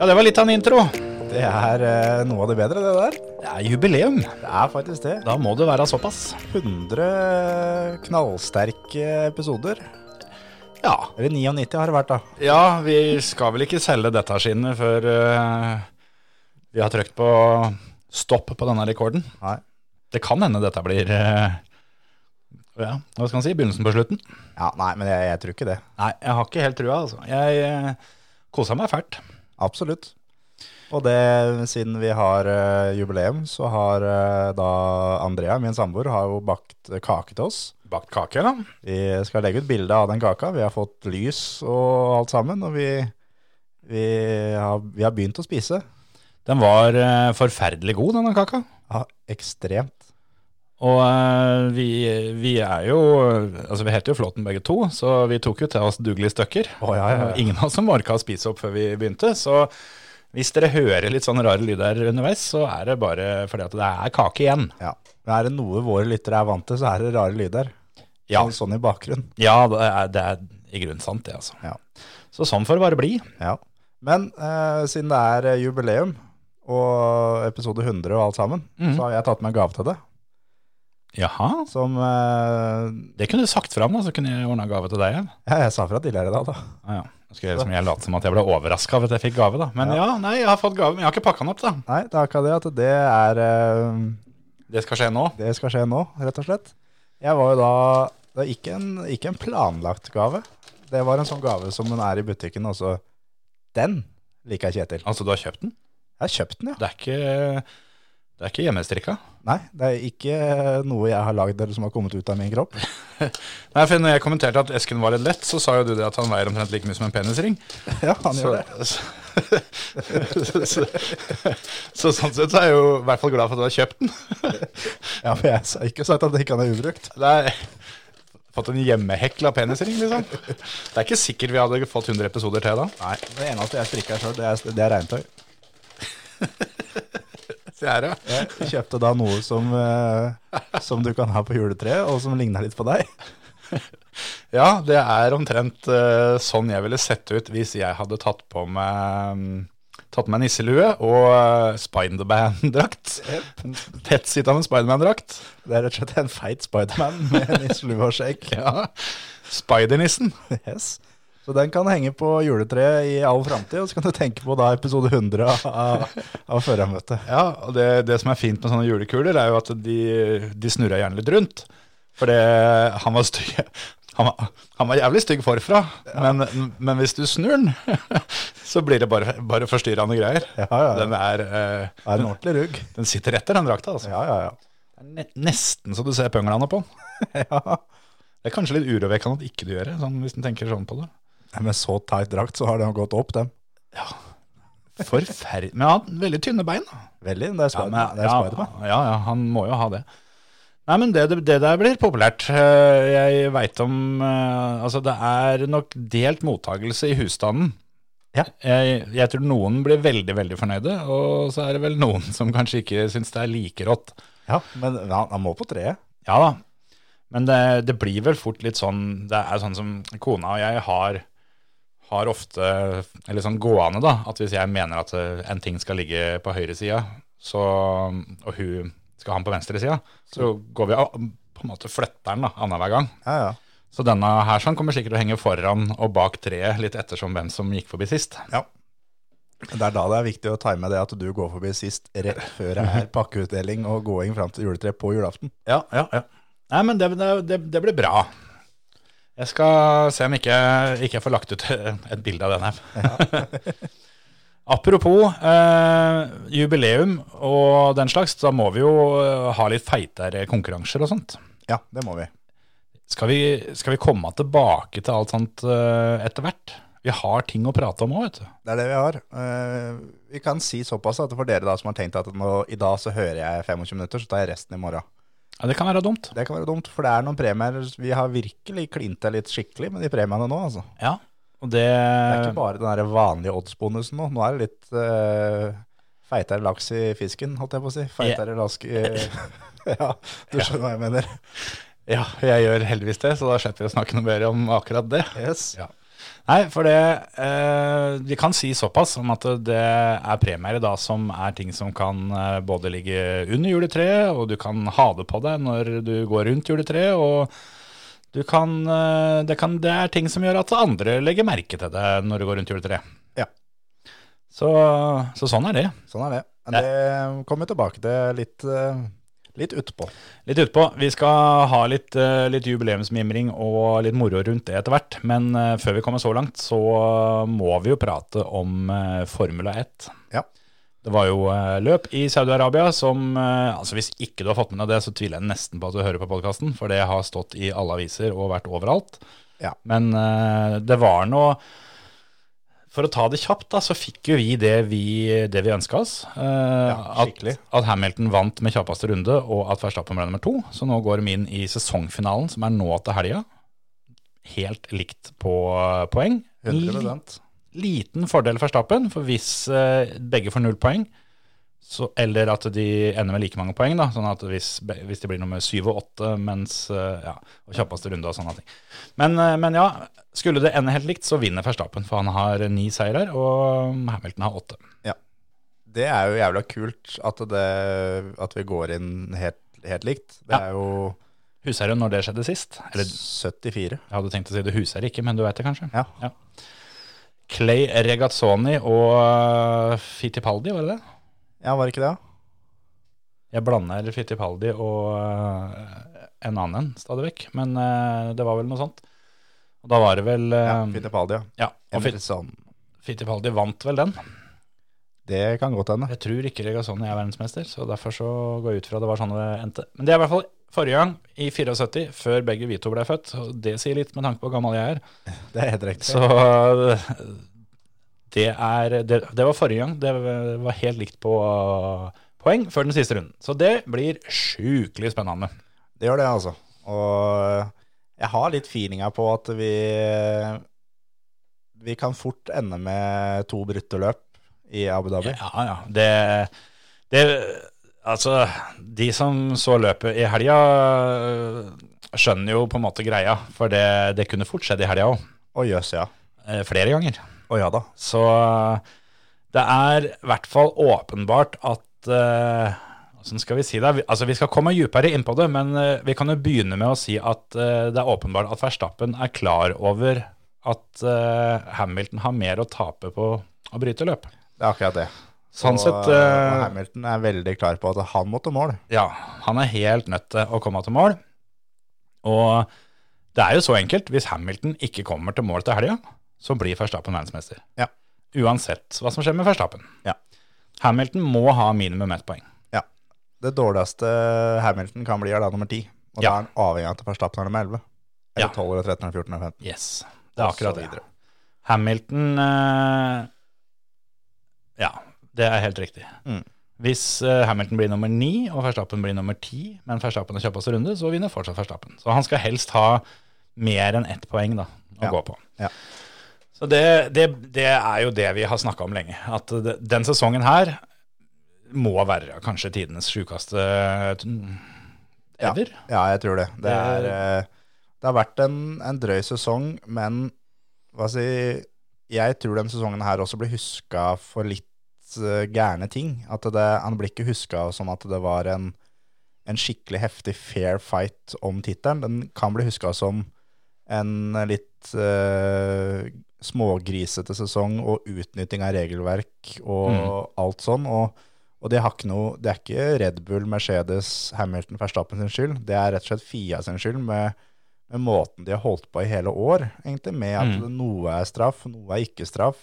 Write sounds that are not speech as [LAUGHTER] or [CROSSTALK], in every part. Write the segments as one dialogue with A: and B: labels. A: Ja, det var litt av en intro.
B: Det er eh, noe av det bedre, det der.
A: Det er jubileum.
B: Det er faktisk det.
A: Da må det være såpass.
B: 100 knallsterke episoder.
A: Ja.
B: Eller 99 har det vært, da.
A: Ja, vi skal vel ikke selge dette skinnet før eh, vi har trykt på stopp på denne rekorden.
B: Nei.
A: Det kan hende dette blir eh, ja, hva skal man si, begynnelsen på slutten.
B: Ja, nei, men jeg, jeg tror ikke det.
A: Nei, jeg har ikke helt trua, altså. Jeg uh, kosa meg fælt.
B: Absolutt. Og det, siden vi har eh, jubileum, så har eh, da Andrea, min samboer, har jo bakt kake til oss.
A: Bakt kake, da.
B: Vi skal legge ut bilde av den kaka. Vi har fått lys og alt sammen, og vi, vi, har, vi har begynt å spise.
A: Den var eh, forferdelig god, denne kaka.
B: Ja, ekstremt.
A: Og eh, vi, vi er jo Altså, vi heter jo Flåten begge to, så vi tok jo til oss dugelige stykker.
B: Å, ja, ja, ja.
A: Ingen av oss som orka å spise opp før vi begynte, så hvis dere hører litt sånne rare lyder underveis, så er det bare fordi at det er kake igjen.
B: Ja. Men er det noe våre lyttere er vant til, så er det rare lyder.
A: Ja.
B: Sånn- Sånn i bakgrunnen.
A: Ja, det er, det er i grunnen sant, det, altså.
B: Ja.
A: Så sånn får det bare bli.
B: Ja. Men eh, siden det er eh, jubileum og episode 100 og alt sammen,
A: Mhm.
B: så har jeg tatt med en gave til det.
A: Jaha.
B: Som eh,
A: Det kunne du sagt fram, da, så kunne jeg ordna gave til deg. Ja.
B: ja, jeg sa fra tidligere i dag, da.
A: Ah, ja. Nå Skal jeg, gjøre som jeg late som at jeg ble overraska over at jeg fikk gave, da. Men ja. nei, jeg har fått gave, men jeg har ikke pakka den opp, da.
B: Nei, det er akkurat det at det er eh,
A: Det skal skje nå.
B: Det skal skje nå, rett og slett. Jeg var jo da Det er ikke en, ikke en planlagt gave. Det var en sånn gave som den er i butikken, og så Den liker jeg Kjetil.
A: Altså, du har kjøpt den?
B: Jeg har kjøpt den, ja.
A: Det er ikke, det er ikke hjemmestrikka.
B: Nei, det er ikke noe jeg har lagd eller som har kommet ut av min kropp.
A: [LAUGHS] Nei, for når jeg kommenterte at esken var litt lett, så sa jo du det at han veier omtrent like mye som en penisring.
B: [LAUGHS] Ja, han
A: Så,
B: gjør det.
A: så, [LAUGHS] så, så, så sånn sett så er jeg jo i hvert fall glad for at du har kjøpt den.
B: [LAUGHS] Ja, men jeg har ikke sagt at det ikke han er ubrukt.
A: Det er fått en hjemmehekla penisring, liksom. Det er ikke sikkert vi hadde fått 100 episoder til da.
B: Nei, Det eneste jeg strikker sjøl, det, er- det er regntøy.
A: Det er det.
B: Jeg kjøpte da noe som, eh, som du kan ha på juletreet, og som ligner litt på deg.
A: Ja, det er omtrent eh, sånn jeg ville sett ut hvis jeg hadde tatt på meg mm, Tatt på meg nisselue og uh, Spiderman-drakt. Tettsittende Spiderman-drakt.
B: Det er rett og slett en feit Spiderman med
A: [LAUGHS]
B: nisselue og skjegg.
A: Ja. Spidernissen.
B: Yes. Så den kan henge på juletreet i all framtid, og så kan du tenke på da episode 100 av, av Førermøtet.
A: Ja, og det, det som er fint med sånne julekuler, er jo at de, de snurrer gjerne litt rundt. For det, han var stygg. Han var, han var jævlig stygg forfra, men, men hvis du snur den, [LAUGHS] så blir det bare, bare forstyrrende greier.
B: Ja, ja, ja.
A: Den, er, eh,
B: Det er en ordentlig rugg.
A: den sitter etter den drakta, altså.
B: Ja, ja, ja.
A: Det er ne- nesten så du ser punglene på den. [LAUGHS]
B: ja.
A: Det er kanskje litt urovekkende at ikke du gjør det, sånn, hvis en tenker sånn på det.
B: Nei, Med så tight drakt så har den gått opp, dem.
A: Forferdelig. Men han har veldig tynne bein, da.
B: Veldig. Det er
A: Ja,
B: Spiderman.
A: men-
B: Det er
A: ja,
B: Spiderman.
A: Ja, ja, han må jo ha det. Nei, men det, det der blir populært. Eh, Jeg veit om eh, Altså, det er nok delt mottagelse i husstanden.
B: Ja.
A: Jeg, jeg tror noen blir veldig, veldig fornøyde, og så er det vel noen som kanskje ikke syns det er like rått.
B: Ja, men han, han må på treet.
A: Ja da. Men det, det blir vel fort litt sånn Det er sånn som kona og jeg har har ofte, eller sånn gående da, at hvis jeg mener at eh, en ting skal ligge på høyre sida, så, og hun skal ha den på venstre sida, så går vi og på en måte flytter den da, annenhver gang.
B: Ja, ja.
A: Så denne her sånn kommer sikkert til å henge foran og bak treet, litt ettersom hvem som gikk forbi sist.
B: Det er da det er viktig å time det at du går forbi sist rett før det er pakkeutdeling og gåing fram til juletreet på julaften.
A: Ja, ja, ja. Nei, men det, det, det, det blir bra. Jeg skal se om ikke, ikke jeg får lagt ut [LAUGHS] et bilde av den her. [LAUGHS] Apropos eh, jubileum og den slags, da må vi jo eh, ha litt feitere konkurranser og sånt.
B: Ja, det må vi.
A: Skal vi, skal vi komme tilbake til alt sånt eh, etter hvert? Vi har ting å prate om òg, vet du.
B: Det er det vi har. Eh, vi kan si såpass at for dere da som har tenkt at nå, i dag så hører jeg 25 minutter, så tar jeg resten i morgen.
A: Ja, det kan være dumt.
B: Det kan være dumt, for det er noen premier vi har virkelig klinta litt skikkelig med de premiene nå. altså.
A: Ja, og det,
B: Det er ikke
A: Eh.
B: bare den der vanlige oddsbonusen nå. Nå er det litt eh, feitere laks i fisken, holdt jeg på å si. Feitere lask i [LAUGHS] Ja, du skjønner hva jeg mener.
A: Ja, jeg gjør heldigvis det, så da slipper vi å snakke noe mer om akkurat det.
B: Yes.
A: Ja. Nei, for det eh, Vi kan si såpass om at det er premier i dag som er ting som kan eh, både ligge under juletreet, og du kan ha det på deg når du går rundt juletreet, og du kan, eh, det, kan, det er ting som gjør at andre legger merke til deg når du går rundt juletreet.
B: Ja.
A: Så, så sånn er det.
B: Sånn er det. Men det kommer vi tilbake til litt, eh, litt utpå.
A: Litt utpå. Vi skal ha litt, eh, litt jubileumsmimring og litt moro rundt det etter hvert. Men eh, før vi kommer så langt, så må vi jo prate om eh, Formula 1.
B: Ja.
A: Det var jo eh, løp i Saudi-Arabia som eh, altså Hvis ikke du har fått med deg det, så tviler jeg nesten på at du hører på podkasten, for det har stått i alle aviser og vært overalt.
B: Ja.
A: Men eh, det var noe For å ta det kjapt, da, så fikk jo vi det vi, det vi ønska oss. Eh, at,
B: skikkelig.
A: at Hamilton vant med kjappeste runde, og at Verstappen ble nummer to. Så nå går de inn i sesongfinalen, som er nå til helga. Helt likt på eh, poeng.
B: 100%.
A: Liten fordel for Verstappen, for hvis eh, begge får null poeng, så, eller at de ender med like mange poeng, da, sånn at hvis, be- hvis det blir nummer syv og åtte, mens eh, ja, og kjappeste runde og sånne ting. Men, eh, men ja, skulle det ende helt likt, så vinner Verstappen, for han har ni seirer, og Hamilton har åtte.
B: Det er jo jævla kult at, det, at vi går inn helt, helt likt. Det
A: Ja.
B: er jo
A: Husker du når det skjedde sist? Eller
B: 74.
A: jeg hadde tenkt å si det husker jeg ikke, men du vet det kanskje?
B: Ja.
A: Clay Regazzoni og eh, Fittipaldi, var det det?
B: ja, var det ikke det?
A: Jeg blander Fittipaldi og øh, en annen en stadig vekk, men øh, det var vel noe sånt. Og da var det vel
B: Ja,
A: øh,
B: Fittipaldi, ja.
A: ja, og Fit-
B: Emerson.
A: Fittipaldi vant vel den.
B: Det kan godt hende.
A: Jeg tror ikke Regazzoni er verdensmester, så derfor så går jeg ut fra det var sånn det endte. Men det er i hvert fall forrige gang, i 74, før begge vi to ble født. Og det sier litt med tanke på hvor gammel jeg er.
B: [LAUGHS] Det er helt riktig.
A: Så øh, det er Det, det var forrige gang. Det var helt likt på øh, poeng før den siste runden. Så det blir sjukelig spennende.
B: Det gjør det, altså. Og eh, jeg har litt feelinga på at vi eh, Vi kan fort ende med to brutte løp i Abu Dhabi.
A: Ja, ja. Det, det Altså, de som så løpet i helga, øh, skjønner jo på en måte greia. For det, det kunne fort skjedd i helga òg.
B: Å jøss, ja.
A: Flere ganger.
B: Å ja da.
A: Så det er i hvert fall åpenbart at eh, Hvordan skal vi si det? Vi- Altså, vi skal komme dypere inn på det, men eh, vi kan jo begynne med å si at eh, det er åpenbart at Verstappen er klar over at eh, Hamilton har mer å tape på å bryte løp.
B: Det er akkurat det.
A: Sånn
B: og,
A: sett
B: og
A: eh,
B: Hamilton er veldig klar på at han måtte mål.
A: Ja, han er helt nødt til å komme til mål. Og det er jo så enkelt. Hvis Hamilton ikke kommer til mål til helga, så blir Verstappen verdensmester.
B: Ja.
A: Uansett hva som skjer med Verstappen.
B: Ja.
A: Hamilton må ha minimum ett poeng.
B: Det dårligste Hamilton kan bli, er da nummer ti. Og da
A: Ja.
B: er han avhengig av at Verstappen er nummer elleve.
A: Ja.
B: Eller tolv eller 13 eller 14 eller 15.
A: Yes, det er
B: Og så
A: akkurat det.
B: videre.
A: Hamilton eh, Ja, det er helt riktig.
B: Mm.
A: Hvis eh, Hamilton blir nummer ni og Verstappen blir nummer ti, men Verstappen har kjappeste runde, så vinner fortsatt Verstappen. Så han skal helst ha mer enn ett poeng da, å
B: Ja.
A: gå på.
B: Ja.
A: Så det, det, det er jo det vi har snakka om lenge. At det, den sesongen her må være kanskje tidenes sjukeste mm,
B: Ja.
A: ever.
B: Ja, jeg tror det. Det,
A: Det-
B: er, eh, det har vært en, en drøy sesong, men hva si, jeg tror den sesongen her også blir huska for litt eh, gærne ting. At det, han blir ikke huska som at det var en, en skikkelig heftig fair fight om tittelen. Den kan bli huska som en litt eh, smågrisete sesong og utnytting av regelverk og alt sånn. Og, og det, har ikke noe, det er ikke Red Bull, Mercedes, Hamilton, Verstappen sin skyld. Det er rett og slett Fia sin skyld med, med måten de har holdt på i hele år, egentlig. Med at
A: Mm.
B: noe er straff, noe er ikke straff.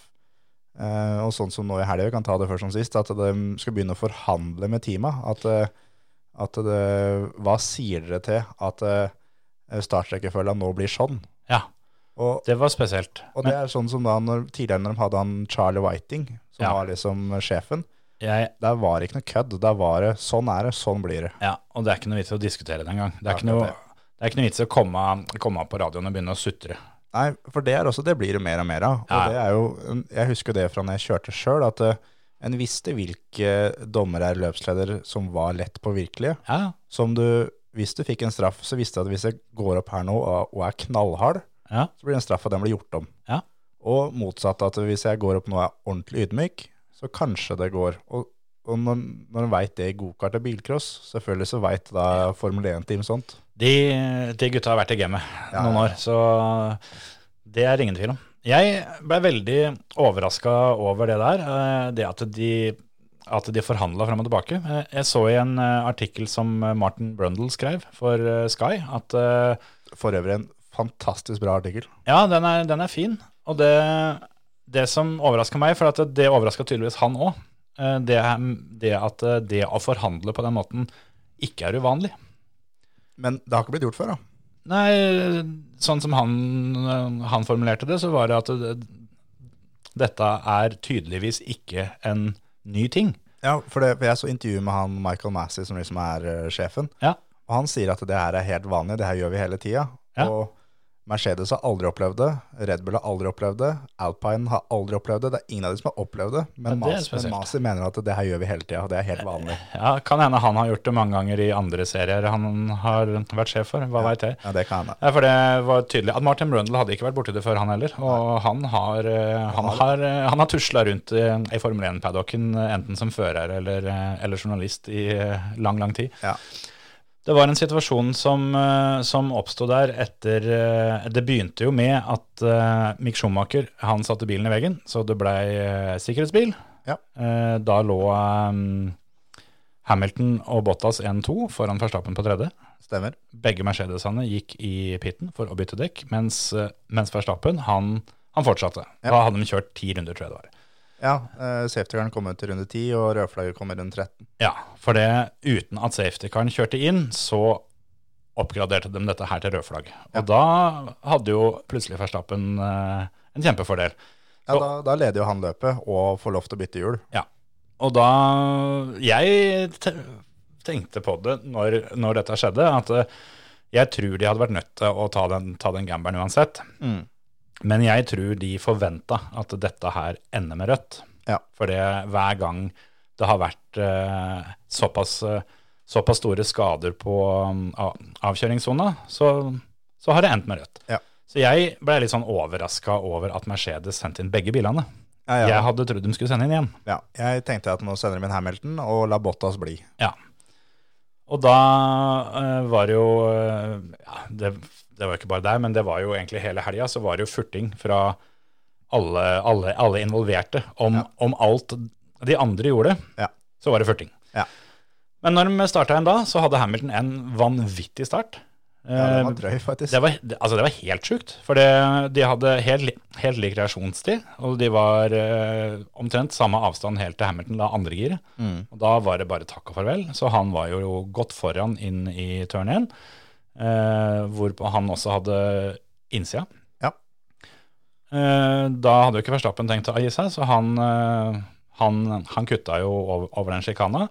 B: Eh, og sånn som nå i helga, vi kan ta det først som sist, at de skal begynne å forhandle med teama. At, eh, at det, hva sier dere til at eh, startrekkefølga nå blir sånn?
A: Ja,
B: Og,
A: det var spesielt.
B: og det er sånn som da når, tidligere når de hadde han Charlie Whiting, som
A: Ja.
B: var liksom sjefen,
A: Men jeg
B: der var det ikke noe kødd. Der var det sånn er det, sånn blir det.
A: Ja, og det er ikke noe vits i å diskutere det engang. Det er ikke
B: Akkurat
A: noe,
B: det.
A: det er ikke noe vits i å komme, komme opp på radioen og begynne å sutre.
B: Nei, for det er også, det blir det mer og mer av. Og
A: Ja.
B: det er jo, jeg husker det fra når jeg kjørte sjøl, at eh, en visste hvilke dommere eller løpsledere som var lett påvirkelige.
A: Ja,
B: Som du, hvis du fikk en straff, så visste du at hvis jeg går opp her nå og, og er knallhard,
A: Ja.
B: så blir den straffa den blir gjort om.
A: Ja.
B: Og motsatt, at hvis jeg går opp nå og er ordentlig ydmyk, så kanskje det går. Og, og når, når en veit det i gokart og bilcross, selvfølgelig så veit da Formel 1-team sånt.
A: De, de gutta har vært i gamet
B: Ja,
A: noen
B: ja.
A: år, så det er ingen tvil om. Jeg ble veldig overraska over det der, eh, det at de, at de forhandla fram og tilbake. Eh, Jeg så i en eh, artikkel som eh, Martin Brundle skrev for eh, Sky, at eh,
B: For øvrig en fantastisk bra artikkel.
A: ja, den er, den er fin. Og det, det som overraska meg, for at det overraska tydeligvis han òg, det, er- det at eh, det å forhandle på den måten ikke er uvanlig.
B: Men det har ikke blitt gjort før, da.
A: Nei, sånn som han, eh, han formulerte det, så var det at det, dette er tydeligvis ikke en ny ting.
B: Ja, for, det, for jeg så intervju med han Michael Massey, som liksom er eh, sjefen.
A: Ja.
B: Og han sier at det her er helt vanlig, det her gjør vi hele tida.
A: Ja.
B: Og Mercedes har aldri opplevd det, Red Bull har aldri opplevd det, Alpine har aldri opplevd det. Det er ingen av de som har opplevd det,
A: Ja,
B: men,
A: det er
B: Mas, men
A: spesielt.
B: Massey mener at det her gjør vi hele tida, og det er helt
A: [LAUGHS]
B: vanlig.
A: Ja, Kan hende han har gjort det mange ganger i andre serier han har vært sjef for. Hva vet veit jeg.
B: Ja, det kan hende.
A: Ja, for det var tydelig at Martin Brundle hadde ikke vært borti det før, han heller. Og han har, eh, han har, eh, han har tusla rundt eh, i Formel 1-paddocken, eh, enten som fører eller, eh, eller journalist, i eh, lang, lang tid.
B: Ja.
A: Det var en situasjon som, eh, som oppsto der etter eh, Det begynte jo med at eh, Mick Schumacher han satte bilen i veggen, så det ble eh, sikkerhetsbil.
B: Ja.
A: Eh, Da lå eh, Hamilton og Bottas 1-2 foran Verstappen på tredje.
B: Stemmer.
A: Begge Mercedesene gikk i pitten for å bytte dekk, mens, eh, mens Verstappen han, han fortsatte.
B: Ja.
A: Da hadde de kjørt ti runder, tror jeg det var.
B: Ja, uh, safety-caren kom ut til runde 10, og rødflagget kom i runde 13.
A: Ja, for det uten at safety-karen kjørte inn, så oppgraderte de dette her til rødflagg. Og da hadde jo plutselig Verstappen eh, en kjempefordel.
B: Ja,
A: Så-
B: da, da leder jo han løpet, og får lov til å bytte hjul.
A: Og da Jeg te tenkte på det når, når dette skjedde, at eh, jeg tror de hadde vært nødt til å ta den, ta den gamberen uansett.
B: Mm.
A: Men jeg tror de forventa at dette her ender med rødt.
B: Ja.
A: For det hver gang det har vært eh, såpass, eh, såpass store skader på um, av- avkjøringssona, så, så har det endt med rødt.
B: Ja.
A: Så jeg ble litt sånn overraska over at Mercedes sendte inn begge bilene.
B: Ja, ja.
A: Jeg hadde trodd de skulle sende inn én.
B: ja. Jeg tenkte at nå sender de inn Hamilton, og la Bottas bli.
A: Ja. Og da eh, var det jo eh, ja, det, det var jo ikke bare der, men det var jo egentlig hele helga så var det jo furting fra alle, alle, alle involverte om, om alt de andre gjorde.
B: Ja.
A: Så var det furting.
B: Ja.
A: Men når de starta en da, så hadde Hamilton en vanvittig start.
B: Ja,
A: Eh,
B: den var drøy, faktisk.
A: det var, det, altså det var helt sjukt, for det, de hadde helt, li- helt lik reaksjonstid, og de var eh, omtrent samme avstand helt til Hamilton la andre giret.
B: Mm.
A: Og da var det bare takk og farvel, så han var jo godt foran inn i turn 1, eh, hvorpå han også hadde innsida.
B: Ja.
A: Eh, da hadde jo ikke Verstappen tenkt å gi seg, så han, eh, han, han kutta jo over, over den sjikana.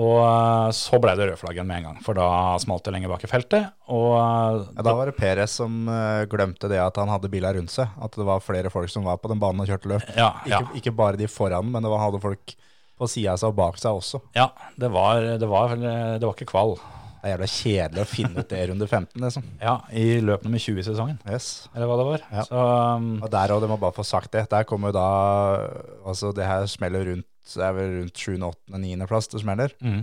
A: Og eh, så ble det rødflaggen med en gang, for da smalt det lenger bak i feltet. Og eh,
B: Ja, da var det Perez som eh, glemte det at han hadde biler rundt seg. At det var flere folk som var på den banen og kjørte løp.
A: Ja,
B: Ikke,
A: ja,
B: ikke bare de foran, men det var, hadde folk på sida av seg og bak seg også.
A: ja det, var, det, var, det var ikke kval.
B: Det er jævla kjedelig å finne ut det i runde 15, liksom.
A: Ja, I løp nummer 20 i sesongen,
B: Yes.
A: eller hva det var.
B: Ja.
A: Så um,
B: Og der òg, det må bare få sagt det. Der kommer jo da Altså, det her smeller rundt det er vel rundt 7., 8., 9. plass det smeller.
A: mm,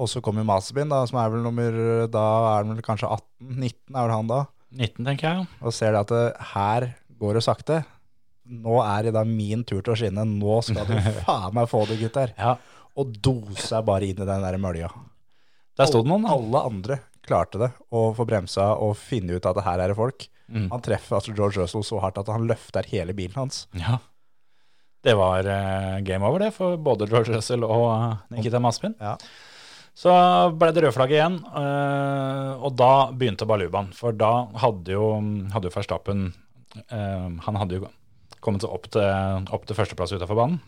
B: Og så kommer Masebin, da, som er vel nummer Da er han vel kanskje 18? 19 er vel han da.
A: 19, tenker jeg.
B: og ser det at det, her går det sakte. Nå er det da min tur til å skinne. Nå skal
A: [LAUGHS]
B: du faen meg få det, gutter.
A: Ja.
B: Og dosa bare inn i den der mølja.
A: Der sto det noen, da.
B: Alle andre klarte det å få bremsa og finne ut at det her er det folk.
A: Mm.
B: Han treffer altså George Russell så hardt at han løfter hele bilen hans.
A: Ja. Det var eh, game over, det, for både George Russell og eh, Nikita Maspin.
B: Ja.
A: Så ble det rødflagget igjen, eh, og da begynte balubaen. For da hadde jo, hadde jo Verstappen eh, Han hadde jo kommet seg opp til, opp til førsteplass utafor banen.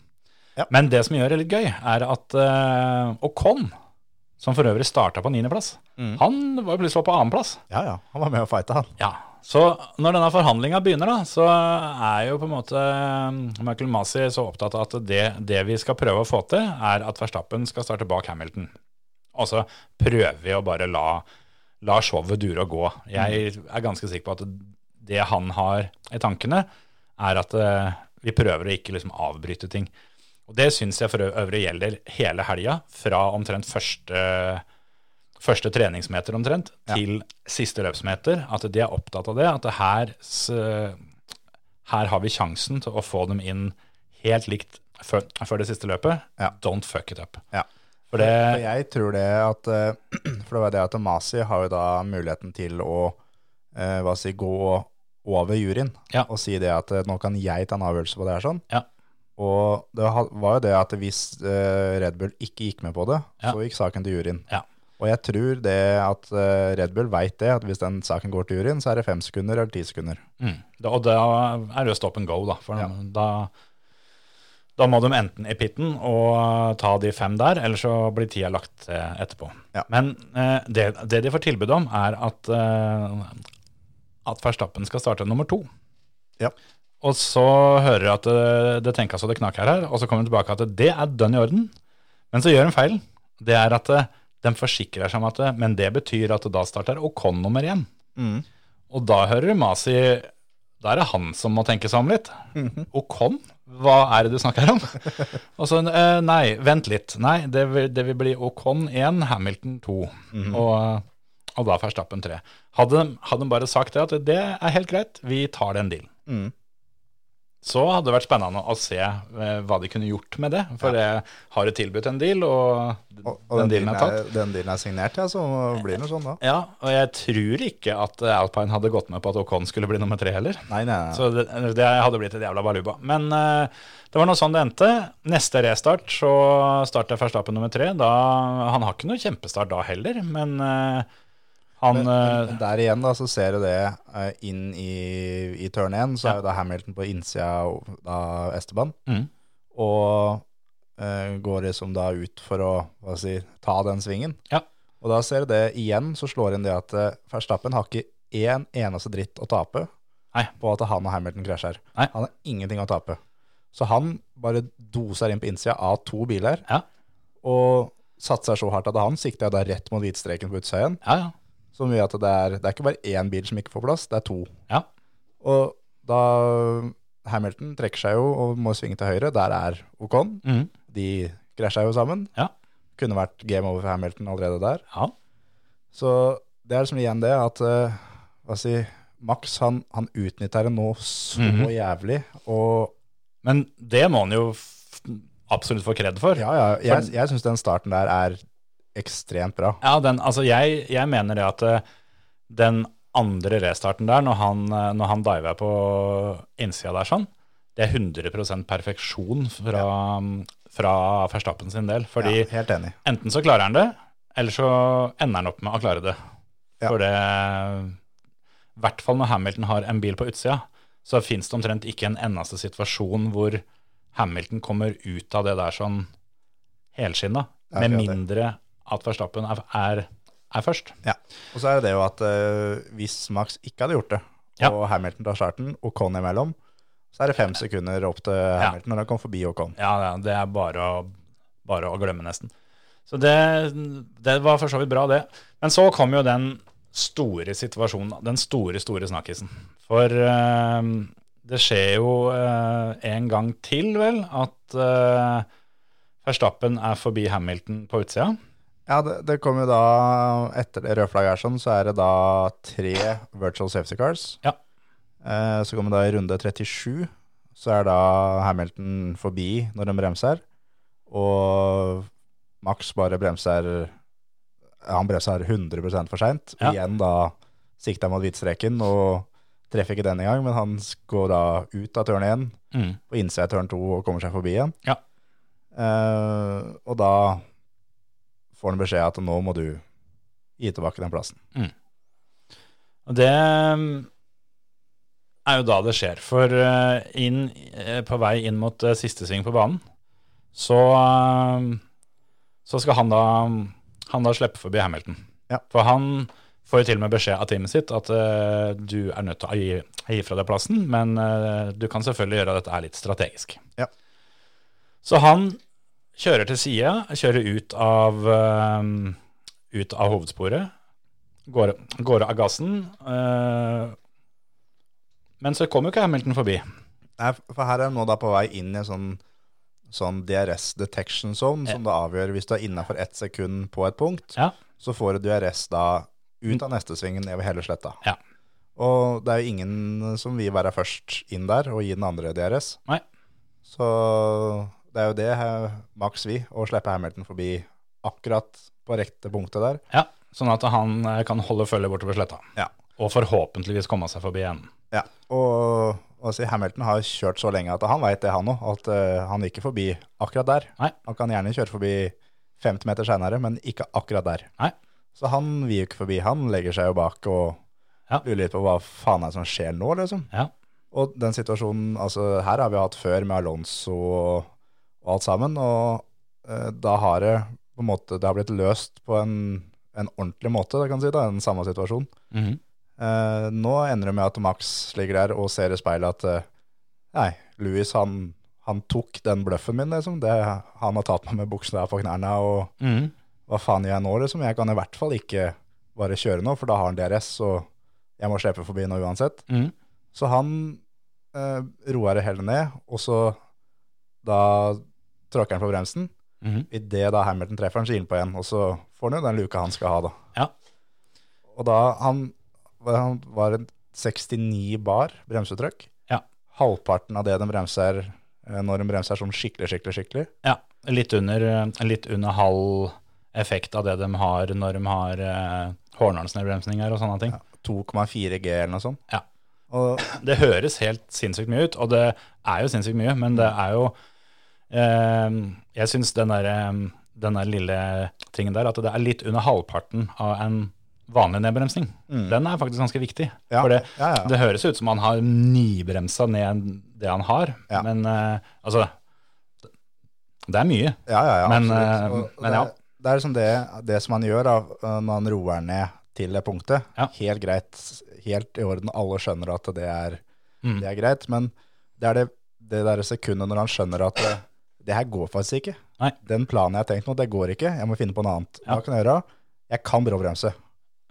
B: Ja.
A: Men det som gjør det litt gøy, er at uh, Ocon, som for øvrig starta på niendeplass,
B: Mm.
A: han var jo plutselig oppe på annenplass.
B: Ja, ja. Han var med og fighta, han.
A: Ja, så når denne forhandlinga begynner, da, så er jo på en måte eh, Michael Masi så opptatt av at det, det vi skal prøve å få til, er at Verstappen skal starte bak Hamilton. Og så prøver vi å bare la, la showet dure og gå. Jeg er ganske sikker på at det han har i tankene, er at eh, vi prøver å ikke liksom avbryte ting. Og det syns jeg for ø- øvrig gjelder hele helga, fra omtrent første, første treningsmeter omtrent,
B: Ja.
A: til siste løpsmeter. At de er opptatt av det. At det her, s- her har vi sjansen til å få dem inn helt likt før, før det siste løpet.
B: Ja.
A: Don't fuck it up.
B: Ja.
A: For det,
B: For jeg tror det at eh, [CLEARS THROAT] For det var det at Masi har jo da muligheten til å eh, hva si, gå over juryen
A: Ja.
B: og si det at eh, nå kan jeg ta en avgjørelse på det her sånn.
A: Ja.
B: Og det ha- var jo det at hvis eh, Red Bull ikke gikk med på det,
A: Ja.
B: så gikk saken til juryen.
A: Ja.
B: Og jeg tror det at eh, Red Bull veit det, at hvis den saken går til juryen, så er det fem sekunder eller ti sekunder.
A: Mm. Da, og da er det jo stop and go, da. For
B: Ja.
A: da, da må de enten i pitten og ta de fem der, eller så blir tida lagt til etterpå.
B: Ja.
A: Men eh, det, det de får tilbud om, er at, eh, at Verstappen skal starte nummer to.
B: Ja.
A: Og så hører du at det, det tenkes og det knaker her, og så kommer de tilbake at det er dønn i orden. Men så gjør de feil. Det er at eh, de forsikrer seg om at eh, Men det betyr at da starter Ocon nummer én. Og da hører du Masi Da er det han som må tenke seg om litt. Ocon? Hva er det du snakker om? og så eh, Nei, vent litt. Nei, det vil, det vil bli Ocon 1, Hamilton 2.
B: Mhm. Mm.
A: og, og da Verstappen 3. Hadde, de- hadde de bare sagt det, at det er helt greit, vi tar den dealen.
B: Mm.
A: Så hadde det vært spennende å se eh, hva de kunne gjort med det. For det har jo tilbudt en deal, og,
B: Og, og
A: den dealen er tatt.
B: den dealen er signert, ja, så blir det noe sånn da.
A: Ja, og jeg tror ikke at eh, Alpine hadde gått med på at Ocon skulle bli nummer tre heller.
B: Nei, nei, nei.
A: Så det, det hadde blitt et jævla baluba. Men eh, det var nå sånn det endte. Neste restart så starter Verstappen nummer tre. Da, han har ikke noe kjempestart da heller, men eh, han eh,
B: Men Der igjen da, så ser du det eh, inn i, i turn 1, så
A: Ja.
B: er jo da Hamilton på innsida av da Esteban,
A: mm,
B: og eh, går liksom da ut for å hva skal jeg si, ta den svingen.
A: Ja.
B: Og da ser du det igjen, så slår inn det at eh, Verstappen har ikke én eneste dritt å tape
A: Nei.
B: på at han og Hamilton krasjer.
A: Nei.
B: Han har ingenting å tape. Så han bare doser inn på innsida av to biler,
A: Ja.
B: og satser så hardt at han sikter da rett mot hvitstreken på utsida igjen.
A: ja, ja.
B: Så mye at det er, det er ikke bare én bil som ikke får plass, det er to.
A: Ja.
B: Og da Hamilton trekker seg jo og må svinge til høyre, der er Ocon.
A: Mm,
B: De krasja jo sammen.
A: Ja.
B: Kunne vært game over for Hamilton allerede der.
A: ja.
B: Så det er liksom igjen det at eh, hva si, Max han, han utnytter det nå så
A: Mhm.
B: jævlig. Og
A: Men det må han jo f absolutt få kred for.
B: ja, ja, jeg, jeg syns den starten der er ekstremt bra.
A: Ja, den, altså jeg, jeg mener det at eh, den andre restarten der, når han, eh, når han diver på innsida der sånn, det er 100 perfeksjon fra, mm, fra Verstappen sin del. Fordi
B: ja, helt enig.
A: enten så klarer han det, eller så ender han opp med å klare det.
B: Ja.
A: For det I hvert fall når Hamilton har en bil på utsida, så fins det omtrent ikke en eneste situasjon hvor Hamilton kommer ut av det der sånn helskinna.
B: Ja,
A: Med
B: akkurat det.
A: mindre at Verstappen er, er, er først.
B: Og så er det jo at eh, hvis Max ikke hadde gjort det,
A: Ja.
B: og Hamilton tar starten, og Con imellom, så er det fem sekunder opp til Hamilton når han kommer forbi Ocon.
A: Ja, ja, det er bare å, bare å glemme, nesten. Så det, det var for så vidt bra, det. Men så kom jo den store situasjonen, da. den store, store snakkisen. For eh, det skjer jo eh, en gang til, vel, at eh, Verstappen er forbi Hamilton på utsida.
B: Ja, det, det kommer jo da, etter det røde flagget er sånn, så er det da tre virtual safety cars.
A: Ja.
B: Eh, så kommer da i runde 37, så er da Hamilton forbi når de bremser, og Max bare bremser, ja, han bremser 100% for sent,
A: Ja.
B: igjen da sikter han mot hvitstreken, og treffer ikke denne gang, men han går da ut av turn 1,
A: Mm.
B: på innsida av turn 2 og kommer seg forbi igjen.
A: Ja.
B: Eh, og da får han beskjed at nå må du gi tilbake den plassen.
A: Og det mm, er jo da det skjer. For eh, inn, eh, på vei inn mot eh, siste sving på banen, så, eh, så skal han da, han da slippe forbi Hamilton.
B: Ja.
A: For han får jo til og med beskjed av teamet sitt at eh, du er nødt til å gi, gi fra deg plassen, men eh, du kan selvfølgelig gjøre dette her litt strategisk.
B: Ja.
A: Så han kjører til sida, kjører ut av, eh, ut av hovedsporet, går, går av gassen. eh, men så kommer jo ikke Hamilton forbi.
B: Nei, for her er du nå da på vei inn i en sånn, sånn DRS detection zone, som da avgjør hvis du er innafor ett sekund på et punkt,
A: Ja.
B: så får du DRS da ut av neste svingen nedover hele sletta.
A: Ja.
B: Og det er jo ingen som vil være først inn der og gi den andre DRS.
A: Nei.
B: Så det er jo det her, Max vil, å slippe Hamilton forbi akkurat på rette punktet der.
A: Ja, sånn at han eh, kan holde følge bortover sletta.
B: Ja.
A: Og forhåpentligvis komme seg forbi enden.
B: Ja, og, og si, Hamilton har kjørt så lenge at han vet det han òg, at eh, han gikk ikke forbi akkurat der.
A: Nei.
B: Han kan gjerne kjøre forbi 50 meter seinere, men ikke akkurat der.
A: Nei.
B: Så han vil jo ikke forbi. Han legger seg jo bak og
A: Ja.
B: lurer litt på hva faen er det som skjer nå, liksom.
A: Ja.
B: Og den situasjonen, altså her har vi hatt før med Alonso og, og alt sammen, og eh, da har det på en måte, det har blitt løst på en, en ordentlig måte, kan man si, da, den samme situasjonen.
A: Mhm.
B: Eh, nå ender det med at Max ligger der og ser i speilet at eh, Nei, Louis han, han tok den bløffen min, liksom. Det, han har tatt meg med buksene der på knærne, og
A: Mhm.
B: hva faen gjør jeg nå, liksom? Jeg kan i hvert fall ikke bare kjøre nå, for da har han DRS, og jeg må slippe forbi nå uansett.
A: Mhm.
B: Så han eh, roer det hele ned, og så da tråkker han på bremsen.
A: Mhm.
B: Idet da Hamilton treffer han, så gir han på igjen, og så får han jo den luka han skal ha, da.
A: Ja.
B: Og da han, han var en 69 bar bremsetrykk.
A: Ja.
B: Halvparten av det de bremser eh, når de bremser sånn skikkelig, skikkelig, skikkelig.
A: Ja, litt under, eh, litt under halv effekt av det de har når de har eh, Hornlandsnedbremsninger og sånne ting.
B: 2,4 G eller noe sånt.
A: Ja.
B: Og
A: Det høres helt sinnssykt mye ut, og det er jo sinnssykt mye, men det er jo eh, Jeg syns den der, eh, den der lille tingen der, at det er litt under halvparten av en vanlig nedbremsing,
B: Mm.
A: den er faktisk ganske viktig.
B: Ja,
A: For det,
B: ja, ja.
A: det høres ut som han har nybremsa ned det han har,
B: Ja.
A: men eh, altså Det er mye.
B: Ja, ja, ja.
A: Men,
B: absolutt.
A: eh,
B: Og- og
A: men
B: det,
A: ja.
B: er- Det er liksom det, det som han gjør da, eh, når han roer ned til det punktet.
A: Ja.
B: Helt greit, helt i orden. Alle skjønner at det er,
A: Mm.
B: det er greit, men det er det, det der sekundet når han skjønner at det, det her går faktisk ikke.
A: Nei.
B: Den planen jeg har tenkt nå, det går ikke. Jeg må finne på noe annet.
A: Ja.
B: Hva kan jeg gjøre? Jeg kan bråbremse.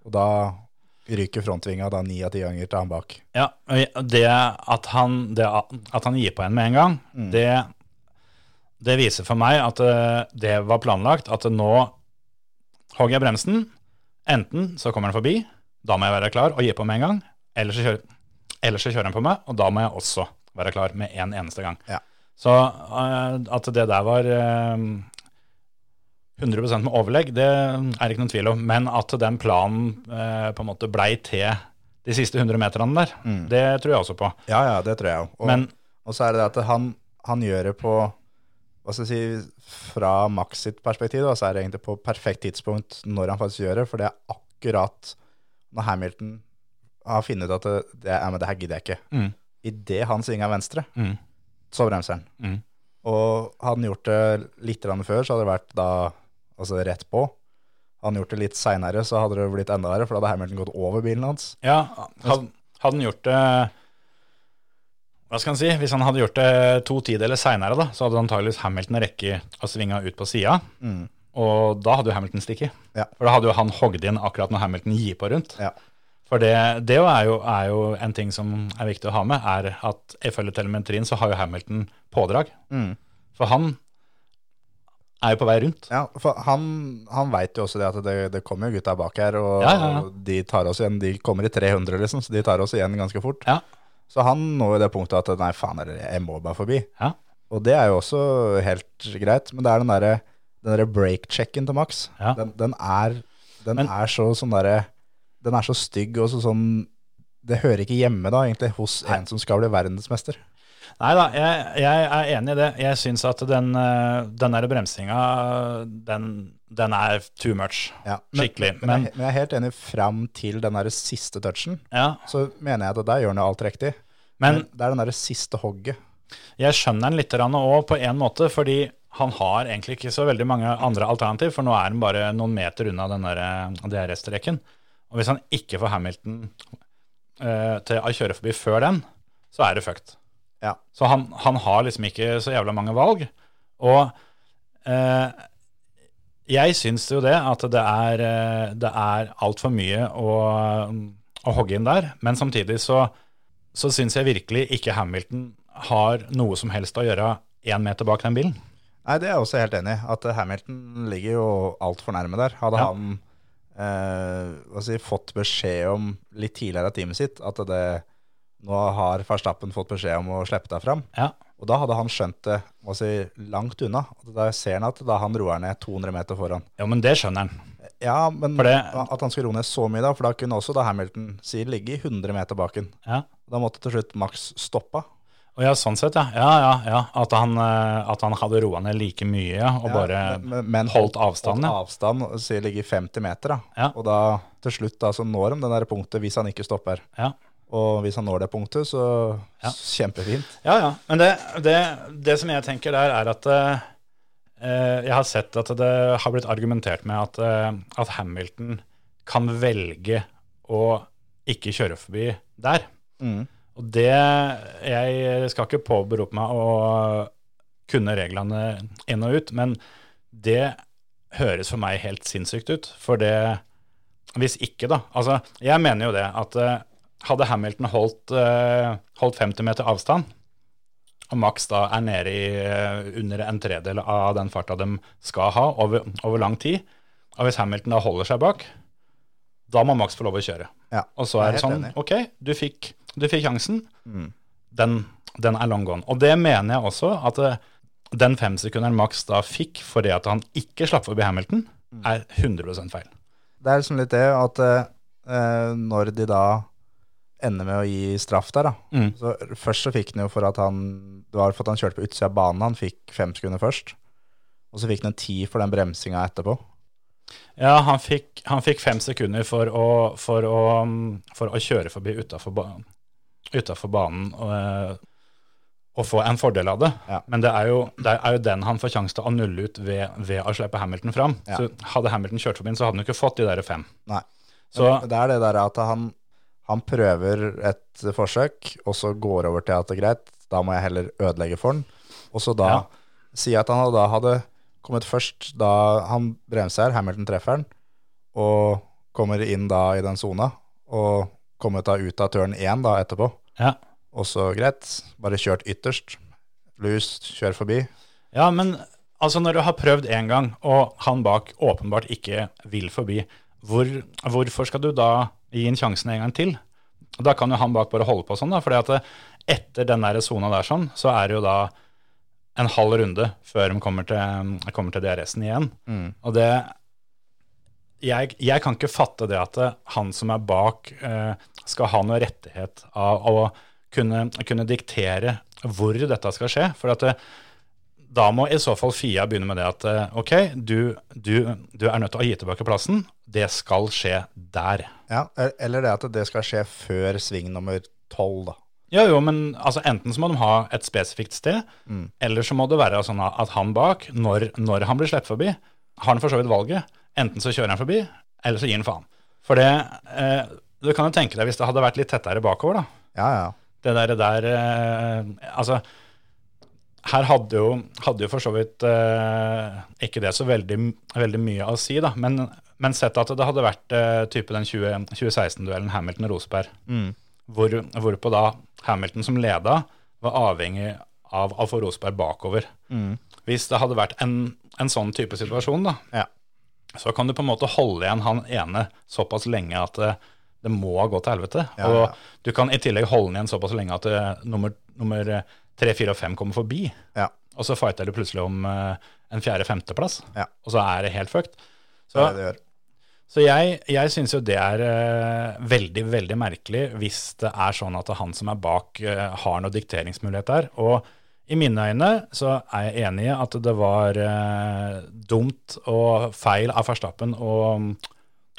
B: Og da ryker frontvinga da ni av ti ganger til han bak.
A: Ja, og jeg- og det at han, det at han gir på en med en gang, det, det viser for meg at eh, det var planlagt, at nå hogger jeg bremsen, enten så kommer han forbi, da må jeg være klar og gi på med en gang, eller så kjører, eller så kjører han på meg, og da må jeg også være klar med en eneste gang.
B: Ja.
A: Så eh, at det der var eh, 100 med overlegg, det er ikke noen tvil om, men at den planen eh, på en måte blei til de siste 100 meterne der. Det tror jeg også på.
B: Ja, ja, det tror jeg jo. Mm. Og-
A: Men
B: Og så er det det at han, han gjør det på hva skal jeg si, Fra Max sitt perspektiv da, så er det egentlig på perfekt tidspunkt når han faktisk gjør det, for det er akkurat når Hamilton har funnet ut at det, det, er, men det her gidder jeg ikke.
A: Mm.
B: Idet han svinger venstre,
A: Mm.
B: så bremser han.
A: Mm.
B: Og hadde han gjort det litt grann før, så hadde det vært da altså rett på. Hadde han gjort det litt seinere, så hadde det blitt enda verre, for da hadde Hamilton gått over bilen hans.
A: ja,
B: altså-
A: had- hadde han gjort det Hva skal han si? Hvis han hadde gjort det to tideler seinere, da, så hadde antageligvis Hamilton rekket å svinge ut på sida.
B: Mm.
A: Og da hadde jo Hamilton stikket.
B: Ja.
A: For da hadde jo han hogd inn akkurat når Hamilton gir på rundt.
B: Ja.
A: For det, det jo er, jo, er jo en ting som er viktig å ha med, er at ifølge telemetrien så har jo Hamilton pådrag.
B: Mm.
A: For han er jo på vei rundt.
B: Ja, for han, han veit jo også det at det, det kommer jo gutta bak her, og
A: Ja, ja, ja.
B: de tar oss igjen. De kommer i 300, liksom, så de tar oss igjen ganske fort.
A: Ja.
B: Så han når jo det punktet at nei, faen, eller, jeg må bare forbi.
A: Ja.
B: Og det er jo også helt greit, men det er den derre den der break-checken til Max.
A: Ja.
B: Den, den, er, den
A: Men-
B: er så sånn derre Den er så stygg og så sånn Det hører ikke hjemme, da, egentlig, hos
A: Nei.
B: en som skal bli verdensmester.
A: Nei da, jeg, jeg er enig i det. Jeg syns at den, eh, den der bremsinga, den, den er too much.
B: Ja. Men,
A: Skikkelig.
B: men,
A: Men
B: jeg, men jeg er helt enig fram til den derre siste touchen.
A: ja,
B: Så mener jeg at der gjør han jo alt riktig. Men
A: men
B: det er den derre siste hogget.
A: jeg skjønner den litt òg, på en måte, fordi han har egentlig ikke så veldig mange andre alternativ, for nå er han bare noen meter unna den der eh, DRS-streken. Og hvis han ikke får Hamilton eh, til å kjøre forbi før den, så er det fucked.
B: Ja.
A: Så han, han har liksom ikke så jævla mange valg. Og eh, jeg syns jo det, at det er, eh, det er altfor mye å, å hogge inn der, men samtidig så så syns jeg virkelig ikke Hamilton har noe som helst å gjøre én meter bak den bilen.
B: Nei, det er jeg også helt enig i. At eh, Hamilton ligger jo altfor nærme der. Hadde
A: Ja.
B: han eh, hva si, fått beskjed om litt tidligere i teamet sitt at det, nå har Verstappen fått beskjed om å slippe deg fram,
A: Ja.
B: og da hadde han skjønt det hva si, langt unna. Og Da ser han at da han roer ned 200 meter foran.
A: Jo, men det skjønner han.
B: Ja, men
A: For det-
B: at han skulle roe ned så mye da, for da kunne også da Hamilton si ligge i 100 meter baken.
A: Ja.
B: Da måtte til slutt Max stoppa.
A: Og ja, sånn sett, ja. Ja, ja, ja. At han, eh, at han hadde roa ned like mye, ja. Og bare
B: men, men
A: holdt avstanden. Ja.
B: Holdt avstand, og sier ligger 50 meter. Da.
A: Ja.
B: Og da til slutt da, så når de det der punktet hvis han ikke stopper.
A: Ja.
B: Og hvis han når det punktet, så
A: Ja.
B: s- kjempefint.
A: Ja, ja. Men det, det, det som jeg tenker der, er at eh, eh, jeg har sett at det har blitt argumentert med at, eh, at Hamilton kan velge å ikke kjøre forbi der.
B: Mm.
A: Og det Jeg skal ikke påberope meg å kunne reglene inn og ut, men det høres for meg helt sinnssykt ut. For det Hvis ikke, da. Altså, jeg mener jo det at eh, hadde Hamilton holdt, eh, holdt 50 meter avstand, og Max da er nede i eh, under en tredel av den farta de skal ha over, over lang tid, og hvis Hamilton da holder seg bak, da må Max få lov å kjøre.
B: Ja,
A: og så
B: jeg er
A: er det
B: helt
A: sånn,
B: enig.
A: ok, du fikk, du fikk sjansen,
B: Mm.
A: den, den er long gone. Og det mener jeg også, at eh, den femsekunderen Max da fikk fordi at han ikke slapp forbi Hamilton,
B: Mm.
A: er 100 feil.
B: Det er liksom litt det at eh, når de da ender med å gi straff der, da.
A: Mm.
B: Så først så fikk han jo for at han Det var for at han kjørte på utsida av banen. Han fikk fem sekunder først. Og så fikk han en ti for den bremsinga etterpå.
A: Ja, han fikk, han fikk fem sekunder for å, for å, mm, for å kjøre forbi utafor ba utenfor banen og, eh, og få en fordel av det.
B: Ja.
A: Men det er, jo, det er jo den han får sjanse til å nulle ut ved, ved å slippe Hamilton fram.
B: Ja.
A: Så hadde Hamilton kjørt forbi, den, så hadde han jo ikke fått de der fem.
B: Nei.
A: Så,
B: Men Det er det der at han, han prøver et forsøk, og så går over til at det er greit, da må jeg heller ødelegge for den. Og så da
A: Ja.
B: si at han da hadde kommet først da han bremser, Hamilton treffer han, og kommer inn da i den sona, og kommet da ut av turn 1 da etterpå.
A: ja.
B: Og så greit, bare kjørt ytterst, lus, kjør forbi.
A: Ja, men altså når du har prøvd en gang, og han bak åpenbart ikke vil forbi, hvor, hvorfor skal du da gi ham sjansen en gang til? Da kan jo han bak bare holde på sånn, da, fordi at eh, etter den der sona der sånn, så er det jo da en halv runde før de kommer til, eh, kommer til DRS-en igjen. Og det jeg, jeg kan ikke fatte det at eh, han som er bak, eh, skal ha noe rettighet av å kunne, kunne diktere hvor dette skal skje. For at eh, da må i så fall Fia begynne med det at eh, ok, du, du, du er nødt til å gi tilbake plassen. Det skal skje der.
B: Ja, eller det at det skal skje før sving nummer 12 da.
A: Jo, jo, men altså, enten så må de ha et spesifikt sted, eller så må det være sånn at han bak, når, når han blir sluppet forbi, har han for så vidt valget. Enten så kjører han forbi, eller så gir han faen. For det, eh, du kan jo tenke deg hvis det hadde vært litt tettere bakover, da.
B: Ja, ja.
A: Det der, der eh, Altså, her hadde jo, hadde jo for så vidt eh, ikke det så veldig, veldig mye å si, da. Men, men sett at det hadde vært eh, type den 20 2016-duellen Hamilton-Roseberg
B: Mm.
A: hvor, hvorpå da Hamilton som leda var avhengig av Alfa Rosberg bakover.
B: Mm.
A: Hvis det hadde vært en, en sånn type situasjon, da,
B: Ja.
A: så kan du på en måte holde igjen han ene såpass lenge at det, det må gå til helvete.
B: Ja, ja.
A: Og du kan i tillegg holde den igjen såpass lenge at eh, nummer, nummer eh, tre, fire og fem kommer forbi.
B: Ja.
A: Og så fighter du plutselig om eh, en fjerde-femteplass,
B: Ja.
A: og så er det helt fucked.
B: Det
A: Så,
B: er det det gjør.
A: så jeg, jeg syns jo det er eh, veldig, veldig merkelig hvis det er sånn at han som er bak, eh, har noen dikteringsmulighet der. Og i mine øyne så er jeg enig i at det var eh, dumt og feil av Verstappen å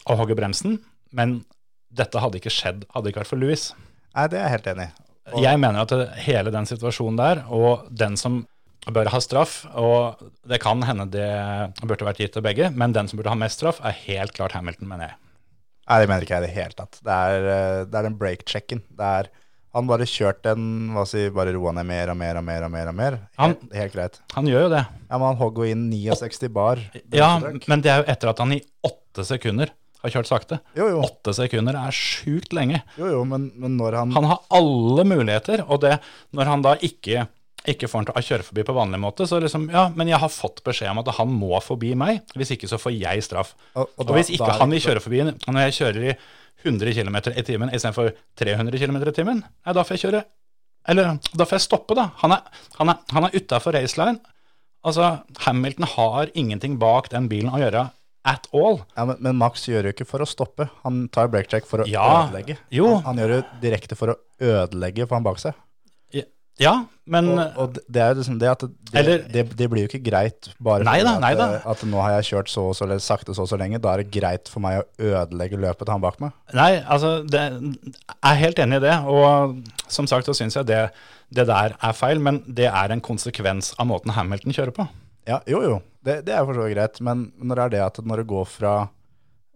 A: å hogge bremsen, men dette hadde ikke skjedd, hadde det ikke vært for Louis.
B: Nei, det er jeg helt enig i. Og-
A: Jeg mener at det- hele den situasjonen der, og den som bør ha straff, og det kan hende det burde vært gitt til begge, men den som burde ha mest straff, er helt klart Hamilton, mener jeg.
B: Nei, det mener ikke jeg i det hele tatt. Det er, eh, det er den break-checken. Det er han bare kjørte en Hva si, bare roa ned mer og mer og mer og mer. og mer. Helt,
A: Han-
B: helt greit.
A: Han gjør jo det.
B: Ja, men han hogg jo inn 69 bar.
A: Ja, men det er jo etter at han i åtte sekunder har kjørt sakte.
B: Jo, jo,
A: Åtte sekunder er sjukt lenge.
B: jo, jo men, men når han,
A: Han har alle muligheter, og det, når han da ikke, ikke får han til å kjøre forbi på vanlig måte, så liksom, ja, men jeg har fått beskjed om at han må forbi meg, hvis ikke så får jeg straff.
B: Og- og
A: Og,
B: da-
A: hvis
B: da
A: ikke
B: er det
A: han vil
B: ikke-
A: kjøre forbi, når jeg kjører i 100 km i timen istedenfor 300 km i timen, nei, da får jeg kjøre Eller da får jeg stoppe, da. Han er, han er, han er utafor raceline. Altså, Hamilton har ingenting bak den bilen å gjøre at all.
B: ja, men, men Max gjør jo ikke for å stoppe. Han tar breakcheck for å
A: Ja,
B: ødelegge.
A: jo.
B: Han, han gjør jo direkte for å ødelegge for han bak seg.
A: Ja, men
B: Og, og det- det er jo liksom det at det,
A: Eller-
B: det, det blir jo ikke greit bare
A: Nei da,
B: fordi
A: nei
B: at, eh,
A: da.
B: at nå har jeg kjørt så og så eller sakte så og så lenge. Da er det greit for meg å ødelegge løpet til han bak meg.
A: Nei, altså, det, jeg er helt enig i det. Og som sagt så syns jeg det, det der er feil, men det er en konsekvens av måten Hamilton kjører på.
B: Ja, jo, jo. Det, det er for så vidt greit. Men når er det at når det går fra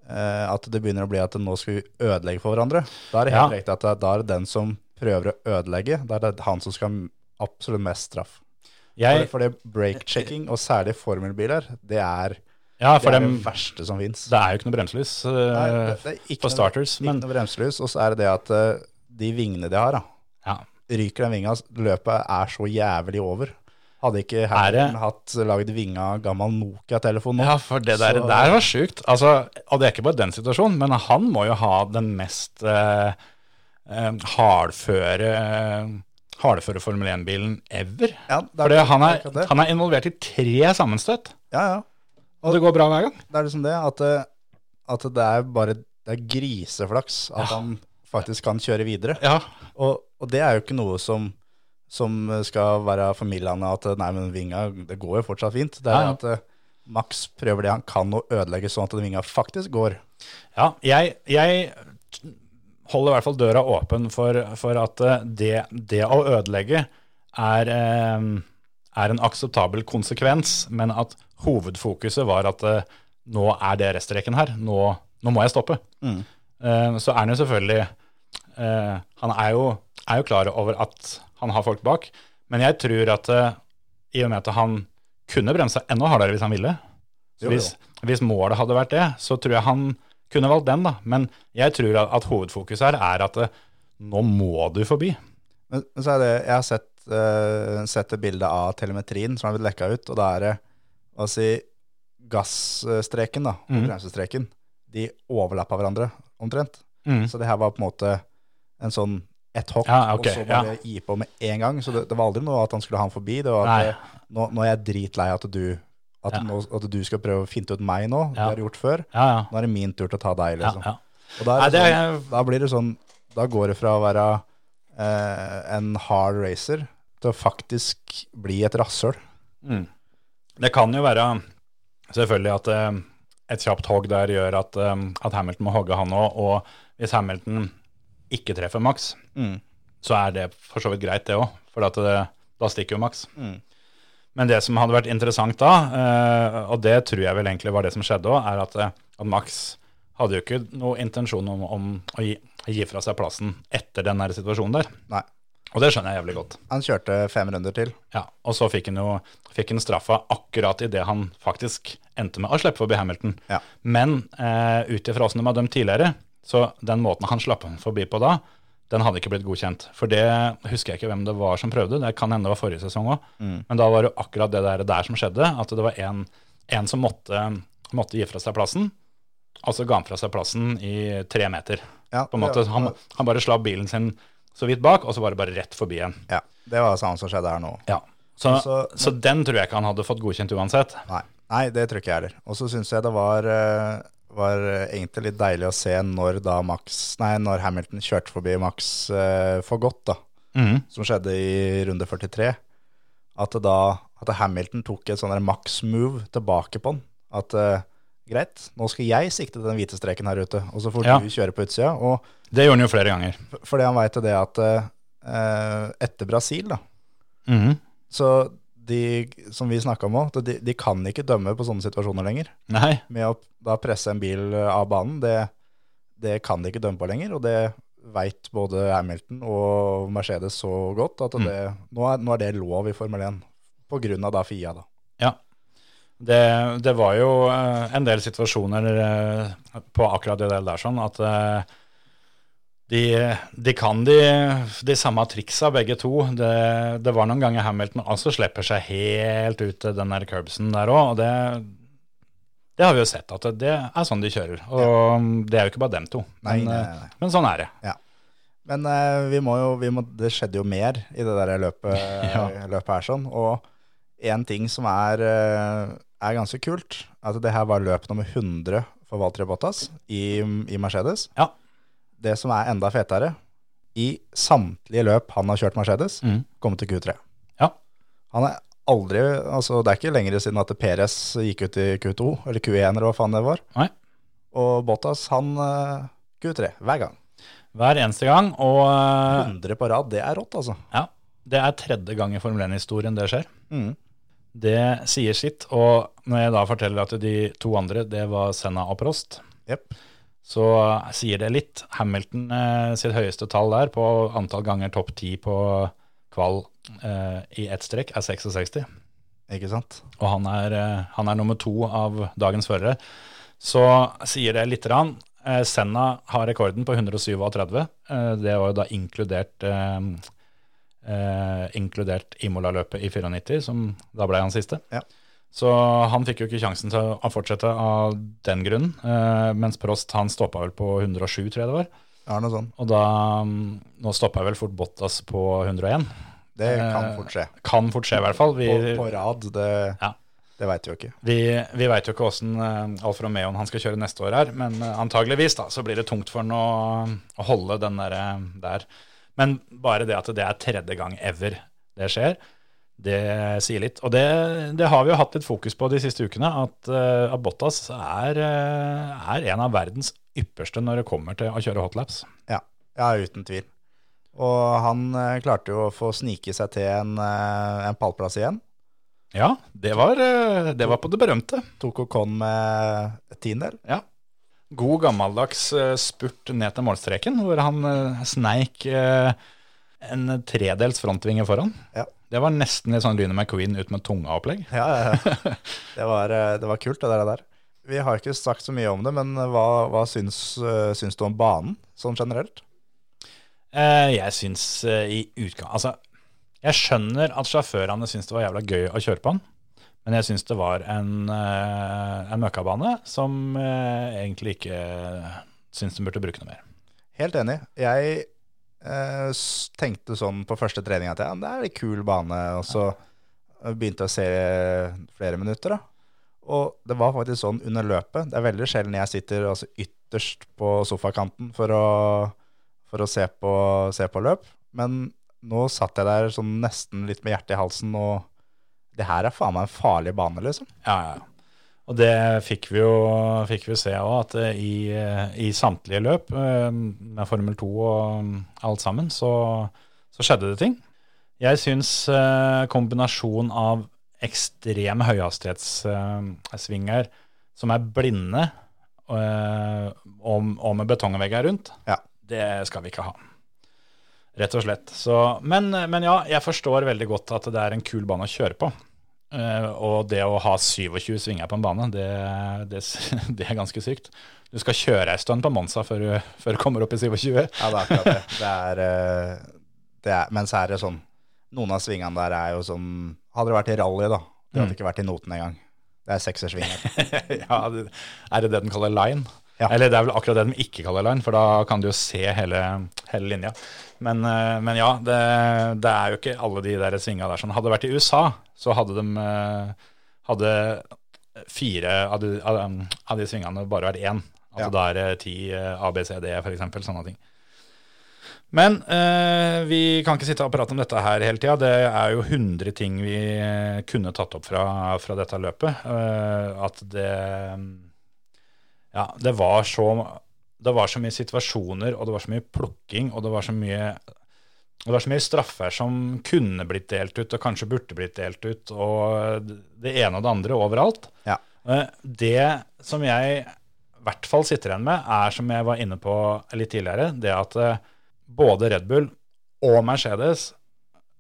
B: eh, at det begynner å bli at nå skal vi ødelegge for hverandre, da er det helt
A: Ja.
B: riktig at det, da er det den som prøver å ødelegge, da er det han som skal ha absolutt mest straff. For,
A: Jeg,
B: for det break-checking, og særlig formelbiler, det er
A: ja, for
B: det, er
A: dem,
B: det verste som fins.
A: det er jo ikke noe bremselys eh,
B: det er
A: på starters,
B: Ikke
A: men
B: noe bremselys, og så er det det at eh, de vingene de har, da.
A: ja.
B: Ryker den vinga, løpet er så jævlig over. Hadde ikke
A: Er det-
B: Hamilton hatt lagd vinga av gammel Nokia-telefon nå?
A: ja, for det der,
B: Så-
A: der var sjukt. Altså, og det er ikke bare den situasjonen, men han må jo ha den mest eh, eh, hardføre eh, Hardføre Formel 1-bilen ever.
B: Ja, det er
A: For han, er-
B: akkurat det.
A: han er involvert i tre sammenstøt,
B: Ja, ja.
A: og det går bra hver gang.
B: Det er liksom det at, eh, at det er bare det er griseflaks at han faktisk kan kjøre videre.
A: Ja,
B: Og, og det er jo ikke noe som, som skal være formildende at eh, nei, men vinga, det går jo fortsatt fint. Det er
A: Ja, ja.
B: at eh, Max prøver det han kan å ødelegge sånn at den vinga faktisk går.
A: Ja, jeg, jeg t- holder i hvert fall døra åpen for, for at eh, det, det å ødelegge er, eh, er en akseptabel konsekvens, men at hovedfokuset var at eh, nå er det reststreken her, nå, nå må jeg stoppe.
B: Mm.
A: Eh, Så er han jo selvfølgelig eh, Han er jo, er jo klar over at han har folk bak, men jeg tror at eh, i og med at han kunne bremsa enda hardere hvis han ville, så
B: Jo,
A: hvis, hvis målet hadde vært det, så tror jeg han kunne valgt den, da. Men jeg tror at, at hovedfokuset her er at eh, nå må du forbi.
B: Men, men så er det, jeg har sett, eh, sett et bilde av telemetrien som har blitt lekka ut, og da er det, hva si, gassstreken da, og
A: Mhm.
B: bremsestreken, de overlapper hverandre omtrent.
A: Mm.
B: Så det her var på en måte en sånn et hokk,
A: Ja, ok,
B: og så bare gi på med en gang. Så det, det var aldri noe at han skulle ha han forbi. Det var at
A: Nei.
B: eh, nå, nå er jeg dritlei at du, at,
A: Ja.
B: nå, at du skal prøve å finte ut meg nå, det
A: Ja.
B: har du gjort før.
A: Ja, ja.
B: Nå er det min tur til å ta deg,
A: ja,
B: liksom.
A: ja.
B: Og da,
A: Nei,
B: er det
A: det
B: sånn,
A: er,
B: da blir det sånn, da går det fra å være eh, en hard racer til å faktisk bli et rasshøl.
A: mm. det kan jo være selvfølgelig at eh, et kjapt hogg der gjør at, eh, at Hamilton må hogge han òg, og hvis Hamilton ikke treffer Max, så er det for så vidt greit, det òg. For at det, da stikker jo Max.
B: Mm.
A: Men det som hadde vært interessant da, eh, og det tror jeg vel egentlig var det som skjedde òg, er at, eh, at Max hadde jo ikke noe intensjon om, om å gi, gi fra seg plassen etter den der situasjonen der.
B: Nei.
A: Og det skjønner jeg jævlig godt.
B: Han kjørte fem runder til.
A: Ja, Og så fikk han jo fikk han straffa akkurat idet han faktisk endte med å slippe forbi Hamilton.
B: Ja.
A: Men eh, ut ifra åssen de har dømt tidligere, så den måten han slapp han forbi på da, den hadde ikke blitt godkjent. For det husker jeg ikke hvem det var som prøvde, det kan hende det var forrige sesong òg.
B: Mm.
A: Men da var det akkurat det der, der som skjedde, at det var en, en som måtte, måtte gi fra seg plassen. Altså ga han fra seg plassen i tre meter.
B: Ja,
A: På en måte,
B: det,
A: han, han bare slapp bilen sin så vidt bak, og så var det bare rett forbi igjen.
B: ja, det var det samme som skjedde her nå.
A: Ja. Så, så,
B: Så-
A: den tror jeg ikke han hadde fått godkjent uansett.
B: Nei, nei det tror ikke jeg heller. Og så syns jeg det var, eh, var egentlig litt deilig å se når, da Max, nei, når Hamilton kjørte forbi Max eh, for godt, da,
A: Mhm.
B: som skjedde i runde 43. At, det da, at Hamilton tok et sånn der Max-move tilbake på han. At eh, greit, nå skal jeg sikte til den hvite streken her ute, og så får
A: Ja.
B: du kjøre på utsida. Og
A: Det gjorde han jo flere ganger.
B: f- fordi han veit jo det at eh, etter Brasil, da,
A: Mhm.
B: så de, som vi snakka om òg, de, de kan ikke dømme på sånne situasjoner lenger.
A: Nei,
B: med å da presse en bil eh, av banen, det, det kan de ikke dømme på lenger. Og det veit både Hamilton og Mercedes så
A: Mm.
B: godt, at det, nå, er, nå er det lov i Formel 1. På grunn av da FIA, da.
A: Det, det var jo eh, en del situasjoner eh, på akkurat det der sånn at eh, de, de kan de, de samme triksa begge to. Det, det var noen ganger Hamilton også slipper seg helt ut til den der curbsen der òg. Og det, det har vi jo sett at det er sånn de kjører. Og det er jo ikke bare dem to.
B: Nei,
A: men,
B: nei,
A: eh,
B: nei, nei.
A: men sånn er det.
B: Men eh, vi må jo, vi må, det skjedde jo mer i det der løpet,
A: [LAUGHS] Ja.
B: løpet her sånn. Og en ting som er, eh, er ganske kult, at det her var løp nummer 100 for Valtteri Bottas i, i Mercedes.
A: Ja.
B: Det som er enda fetere, i samtlige løp han har kjørt Mercedes,
A: Mm.
B: kommet til Q3.
A: Ja.
B: Han er aldri, altså det er ikke lenger siden at Perez gikk ut i Q2, eller Q1 eller hva faen det var.
A: Nei.
B: Og Bottas, han eh, Q3 hver gang.
A: Hver eneste gang. Og eh,
B: 100 på rad, det er rått, altså.
A: ja, det er tredje gang i Formel 1-historien det skjer.
B: Mm.
A: Det sier sitt, og når jeg da forteller at de to andre, det var Senna og Prost,
B: Jepp.
A: så sier det litt. Hamilton eh, sitt høyeste tall der på antall ganger topp 10 på kval eh, i ett strekk er 66,
B: Ikke sant?
A: og han er, eh, han er nummer to av dagens førere. Så sier det litt. Rann. Eh, Senna har rekorden på 137, eh, det var jo da inkludert eh, eh, inkludert Imola-løpet i 94, som da ble han siste.
B: Ja.
A: Så han fikk jo ikke sjansen til å fortsette av den grunnen, eh, mens Prost han stoppa vel på 107, tror jeg det var.
B: Det er noe sånn.
A: Og da, mm, nå stoppa vel fort Bottas på 101.
B: Det kan
A: Eh,
B: fort skje.
A: Kan fort skje, i hvert fall. Vi,
B: På, på rad, det,
A: Ja.
B: det veit vi jo ikke.
A: vi, vi veit jo ikke åssen Alfa Romeoen han skal kjøre neste år her, men eh, antageligvis da, så blir det tungt for han å, å holde den der, eh, der. Men bare det at det er tredje gang ever det skjer, det sier litt. Og det, det har vi jo hatt litt fokus på de siste ukene, at, eh, at Bottas er, eh, er en av verdens ypperste når det kommer til å kjøre hotlaps.
B: Ja, ja uten tvil. Og han eh, klarte jo å få snike seg til en, eh, en pallplass igjen.
A: Ja, det var, eh, det var på det berømte.
B: Tok Ocon med et tiendedel.
A: God gammeldags eh, spurt ned til målstreken, hvor han eh, sneik eh, en tredels frontvinge foran.
B: Ja.
A: Det var nesten litt sånn Lyne McQueen ut med tunga-opplegg.
B: Ja, [LAUGHS] ja, ja. det, var, eh, det var kult, det der. der. Vi har ikke sagt så mye om det, men hva, hva syns, eh, syns du om banen sånn generelt?
A: Eh, Jeg syns eh, i utgang Altså, jeg skjønner at sjåførene syns det var jævla gøy å kjøre på den, men jeg syns det var en, eh, en møkkabane som eh, egentlig ikke eh, syns den burde bruke noe mer.
B: Helt enig. Jeg eh, s- tenkte sånn på første trening at ja, men det er en kul bane, og så eh, begynte jeg å se flere minutter. da. Og det var faktisk sånn under løpet. Det er veldig sjelden jeg sitter altså, ytterst på sofakanten for å, for å se, på, se på løp. Men nå satt jeg der sånn nesten litt med hjertet i halsen, og det her er faen meg en farlig bane, liksom.
A: Ja, ja. ja. Og det fikk vi jo fikk vi se òg, at eh, i, eh, i samtlige løp eh, med Formel 2 og mm, alt sammen, så, så skjedde det ting. Jeg syns eh, kombinasjon av ekstreme høyhastighetssvinger eh, som er blinde, eh, og, og med betongvegger rundt,
B: Ja.
A: det skal vi ikke ha. Rett og slett. Så, men, men ja, jeg forstår veldig godt at det er en kul bane å kjøre på. Eh, og det å ha 27 svinger på en bane, det, det, s- [LAUGHS] det er ganske sykt. Du skal kjøre ei stund på Monza før du, før du kommer opp i 27.
B: Ja, det er akkurat det. det, er, eh, det er, men så er det sånn Noen av svingene der er jo sånn Hadde det vært i rally, da. Det hadde
A: Mm.
B: ikke vært i noten engang. Det er seksersvinger.
A: [LAUGHS] ja, det- er det det de kaller line?
B: Ja.
A: Eller det er vel akkurat det de ikke kaller line, for da kan du jo se hele, hele linja. Men, eh, men ja, det, det er jo ikke alle de der svinga der som hadde det vært i USA, så hadde de eh, hadde fire av de, av de- av de svingene bare vært én. Altså
B: Ja.
A: da er det ti eh, A, B, C, D, for eksempel, sånne ting. Men eh, vi kan ikke sitte og prate om dette her hele tida. Det er jo 100 ting vi eh, kunne tatt opp fra, fra dette løpet. Eh, at det Ja, det var så Det var så mye situasjoner, og det var så mye plukking, og det var så mye det var så mye straffer som kunne blitt delt ut, og kanskje burde blitt delt ut, og det ene og det andre overalt.
B: Ja.
A: Eh, Det som jeg i hvert fall sitter igjen med, er som jeg var inne på litt tidligere, det at eh, både Red Bull og Mercedes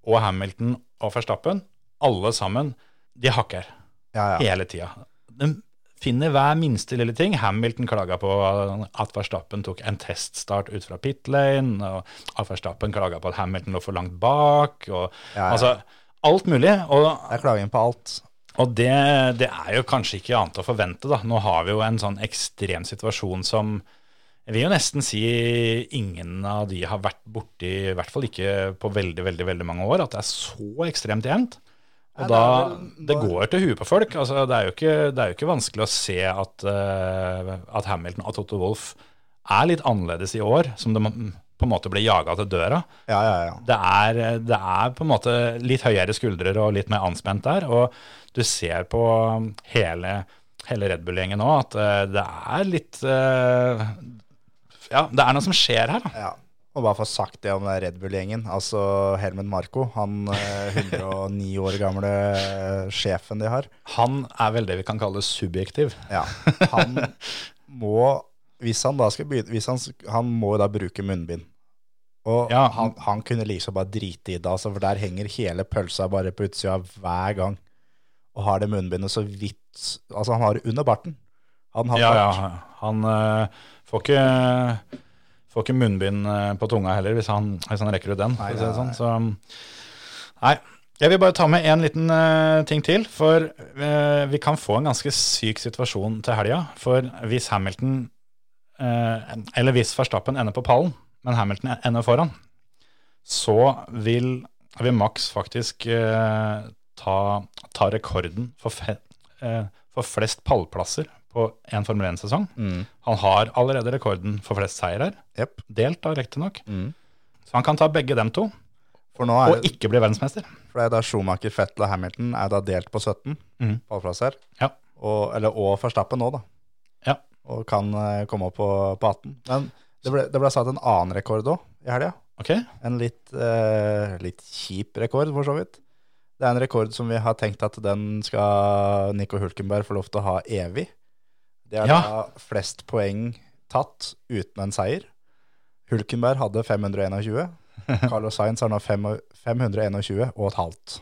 A: og Hamilton og Verstappen, alle sammen, de hakker.
B: Ja, ja.
A: hele tida. De finner hver minste lille ting. Hamilton klaga på at Verstappen tok en teststart ut fra pit lane, og at Verstappen klaga på at Hamilton lå for langt bak, og
B: ja, ja.
A: altså alt mulig. Og
B: Det er klaging på alt.
A: og det, det er jo kanskje ikke annet å forvente, da. Nå har vi jo en sånn ekstrem situasjon som Jeg vil jo nesten si ingen av de har vært borti, i hvert fall ikke på veldig, veldig veldig mange år, at det er så ekstremt jevnt. Og
B: Nei, det
A: da,
B: er vel-
A: det går til huet på folk. altså Det er jo ikke, det er jo ikke vanskelig å se at, eh, at Hamilton og Toto Wolff er litt annerledes i år, som de på en måte blir jaga til døra
B: Ja, ja, ja.
A: det er, det er på en måte litt høyere skuldre og litt mer anspent der. Og du ser på hele, hele Red Bull-gjengen nå at eh, det er litt eh, Ja, det er noe som skjer her, da.
B: Ja. Og bare for sagt det om det Red Bull-gjengen. Altså Helmen Marco, han eh, 109 år gamle eh, sjefen de har.
A: Han er vel det vi kan kalle subjektiv.
B: Ja. Han må Hvis han da skal begynne hvis han, sk- han må da bruke munnbind. Og
A: Ja.
B: han, han kunne like så bare drite i det, altså, for der henger hele pølsa bare på utsida hver gang. Og har det munnbindet så vidt Altså, han har det under barten. Han har
A: Ja,
B: bart.
A: ja. Han eh, får ikke Får ikke munnbind eh, på tunga heller, hvis han, hvis han rekker ut den.
B: Nei,
A: for å si det sånn.
B: nei,
A: Så, nei. Jeg vil bare ta med en liten eh, ting til. For eh, vi kan få en ganske syk situasjon til helga. For hvis Hamilton eh, Eller hvis Verstappen ender på pallen, men Hamilton ender foran, så vil, vil Max faktisk eh, ta, ta rekorden for, fe, eh, for flest pallplasser på en Formel 1-sesong.
B: Mm.
A: Han har allerede rekorden for flest seirer,
B: Jepp.
A: delt da riktignok.
B: Mm.
A: Så han kan ta begge dem to,
B: For nå er
A: og
B: det,
A: ikke bli verdensmester.
B: for det er da Schumacher, Fettel og Hamilton er da delt på 17
A: Mhm.
B: pallplasser.
A: Ja.
B: Og, eller, og Verstappen nå, da.
A: Ja.
B: Og kan eh, komme opp på, på 18. Men det ble, det ble satt en annen rekord òg i helga.
A: Ok?
B: En litt, eh, litt kjip rekord, for så vidt. Det er en rekord som vi har tenkt at den skal Nico Hulkenberg få lov til å ha evig. Det er
A: Ja.
B: da flest poeng tatt uten en seier. Hulkenberg hadde 521. [LAUGHS] Carlos Sainz har nå fem- 521 og et halvt.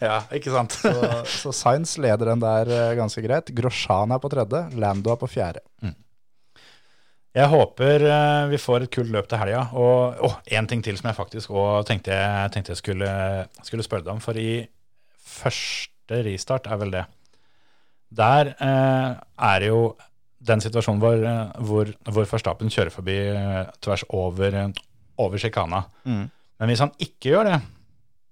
A: Ja, ikke sant?
B: Så, så Sainz leder den der eh, ganske greit. Grosjean er på tredje, Lando er på fjerde.
A: Jeg håper eh, vi får et kult løp til helga. Og å, en ting til som jeg faktisk også tenkte jeg, tenkte jeg skulle, skulle spørre deg om. For i første restart er vel det. Der eh, er det jo den situasjonen hvor, eh, hvor, hvor Verstappen kjører forbi eh, tvers over, eh, over sjikana. Men hvis han ikke gjør det,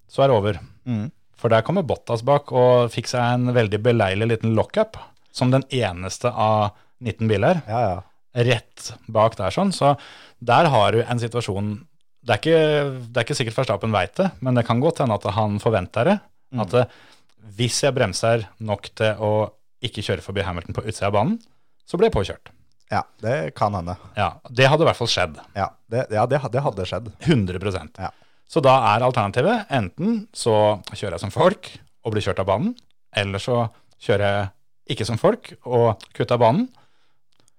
A: så er det over.
B: Mm.
A: For der kommer Bottas bak og fikk seg en veldig beleilig liten lockup, som den eneste av 19 biler
B: Ja, ja.
A: rett bak der sånn. Så der har du en situasjon Det er ikke, det er ikke sikkert Verstappen veit det, men det kan godt hende at han forventer det. At eh, hvis jeg bremser nok til å ikke kjøre forbi Hamilton på utsida av banen, så blir jeg påkjørt.
B: ja det kan hende.
A: Ja, Det hadde i hvert fall skjedd.
B: Ja, det, ja, det, det hadde skjedd.
A: 100
B: Ja.
A: Så da er alternativet enten så kjører jeg som folk og blir kjørt av banen, eller så kjører jeg ikke som folk og kutter av banen.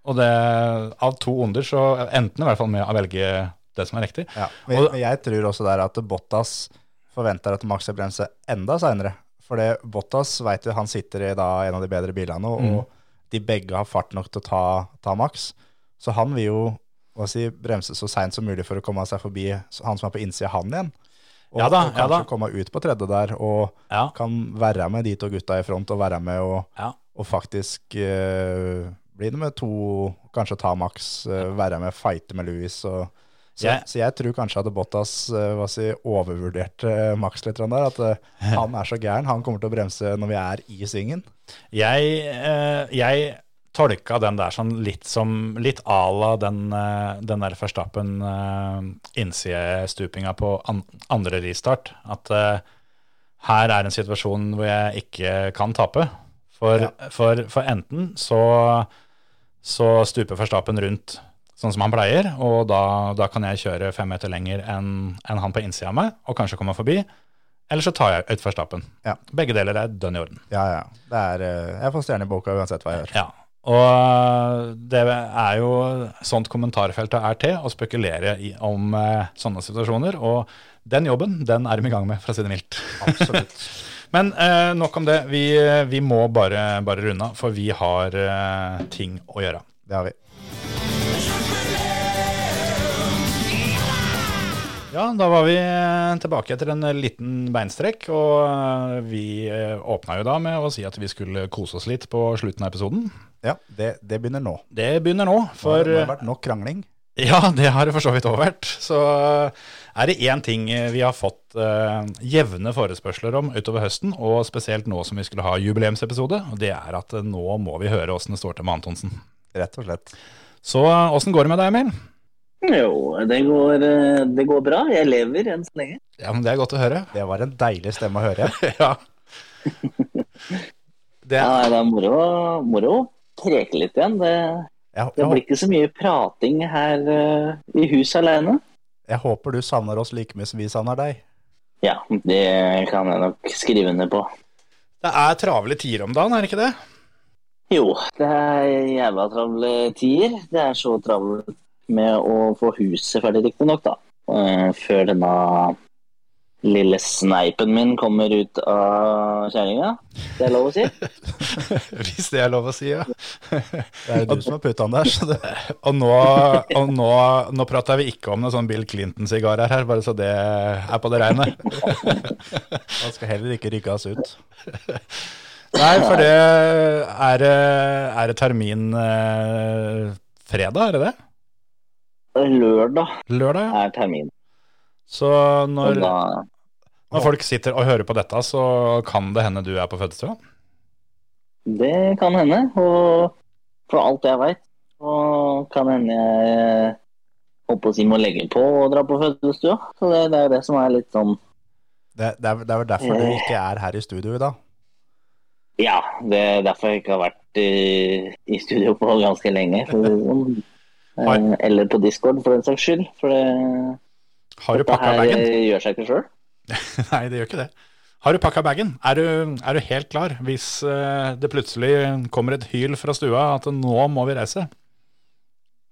A: Og det, av to onder så endte det i hvert fall med å velge det som er riktig.
B: Ja, men,
A: Og-
B: men jeg tror også der at Bottas forventer at Max skal bremse enda seinere. For det Bottas vet jo han sitter i da en av de bedre bilene, og,
A: Mm.
B: og de begge har fart nok til å ta, ta Max. Så han vil jo hva si, bremse så seint som mulig for å komme seg forbi han som er på innsida av han igjen. Og,
A: Ja da,
B: og
A: ja
B: kanskje
A: da.
B: komme ut på tredje der, og
A: Ja.
B: kan være med de to gutta i front, og være med og,
A: Ja.
B: og faktisk eh, bli nummer to, kanskje ta Max, eh, være med, fighte med Louis. Og, så,
A: Jeg-
B: så jeg tror kanskje at Bottas eh, hva si, overvurderte eh, Max litt. grann Der, at eh, han er så gæren, han kommer til å bremse når vi er i svingen.
A: Jeg, eh, jeg tolka den der sånn litt som litt à la den, eh, den der Verstappen eh, innsidestupinga på an andre restart. At eh, her er en situasjon hvor jeg ikke kan tape. For, for, for enten så, så stuper Verstappen rundt sånn som han pleier, og da, da kan jeg kjøre fem meter lenger enn enn han på innsida av meg, og kanskje komme forbi. Eller så tar jeg ut Verstappen.
B: Ja.
A: Begge deler er dønn i orden.
B: Ja, ja. Det er, eh, jeg får stjerne i boka uansett hva jeg gjør.
A: Ja, og det er jo sånt kommentarfeltet er til, å spekulere i, om eh, sånne situasjoner. Og den jobben, den er de i gang med, for å si det mildt.
B: Absolutt.
A: [LAUGHS] Men eh, nok om det. Vi, vi må bare, bare runde av, for vi har eh, ting å gjøre.
B: Det har vi.
A: Ja, da var vi eh, tilbake etter en liten beinstrekk, og eh, vi eh, åpna jo da med å si at vi skulle kose oss litt på slutten av episoden.
B: Ja, det, det begynner nå.
A: Det begynner nå,
B: For,
A: for eh,
B: det har vært nok krangling.
A: Ja, det har det for så vidt også vært. Så eh, er det én ting vi har fått eh, jevne forespørsler om utover høsten, og spesielt nå som vi skulle ha jubileumsepisode, og det er at eh, nå må vi høre åssen det står til med Antonsen.
B: Rett og slett.
A: Så eh, åssen går det med deg, Emil?
C: Jo, det går, eh, det går bra. Jeg lever enn så lenge.
A: Ja, men Det er godt å høre.
B: Det var en deilig stemme å
A: [LAUGHS]
B: høre.
A: ja. Det
C: Ja,
A: er,
C: nei, det er moro, moro å preke litt igjen. Det,
B: Jeg,
C: det
B: jeg,
C: blir
B: håper,
C: ikke så mye prating her eh, i huset alene.
B: jeg håper du savner oss like mye som vi savner deg.
C: Ja, det kan jeg nok skrive under på.
A: det er travle tider om dagen, er det ikke det?
C: Jo, det er jævla travle tider. Det er så travelt med å få huset ferdig, riktignok, da. Eh, Før denne lille sneipen min kommer ut av kjerringa. Det er lov
A: [LAUGHS]
C: å si?
B: [LAUGHS]
A: Hvis det er lov å si, [LAUGHS] ja.
B: Det er jo du som har putta den der. Så det,
A: Og nå, og nå, nå prater vi ikke om noen sånn Bill Clinton-sigarer her, bare så det er på det reine.
B: [LAUGHS] man skal heller ikke rygge oss ut.
A: Nei, for det er, det- er det termin eh, fredag, er det det?
C: Lørdag
A: Lørdag, ja.
C: er termin.
A: Så
C: Og
A: når,
C: da
A: når folk sitter og hører på dette, så kan det hende du er på fødestua.
C: Det kan hende. Og for alt jeg veit, så kan hende jeg eh, holdt på å si må legge på og dra på fødestua. Så det, det er jo det som er litt sånn
B: Det, det, er, det er vel derfor du ikke er her i studio i dag.
C: Ja, det er derfor jeg ikke har vært i, i studio på ganske lenge. For å si det sånn.
A: Har-
C: Eh, Eller på Discord, for den saks skyld. For det,
A: Har du
C: dette
A: pakka
C: her
A: bagen? [LAUGHS]
C: eh, gjør seg ikke sjøl.
A: Nei, det gjør ikke det. Har du pakka bagen? Er, du- er du helt klar hvis eh, det plutselig kommer et hyl fra stua at eh, nå må vi reise?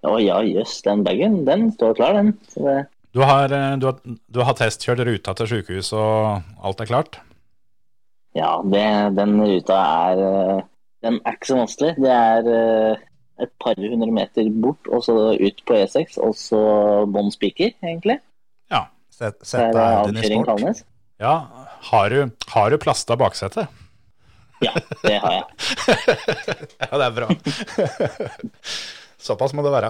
C: Å ja, jøss, den bagen, den står klar, den. Så det,
A: Du har, eh, du har, du har testkjørt ruta til sykehus, og alt er klart?
C: ja, det, den ruta er eh, Den er ikke så vanskelig. Det er eh, et par hundre meter bort, og så ut på E6, og så bånn spiker, egentlig.
B: Sett,
C: Der
B: sett
C: er
B: deg din i
C: avkjøring
B: sport.
C: Kalnes.
A: Ja. Har du, har du plasta baksetet?
C: Ja, det har jeg.
A: [LAUGHS] Ja, det er bra. [LAUGHS] Såpass må det være.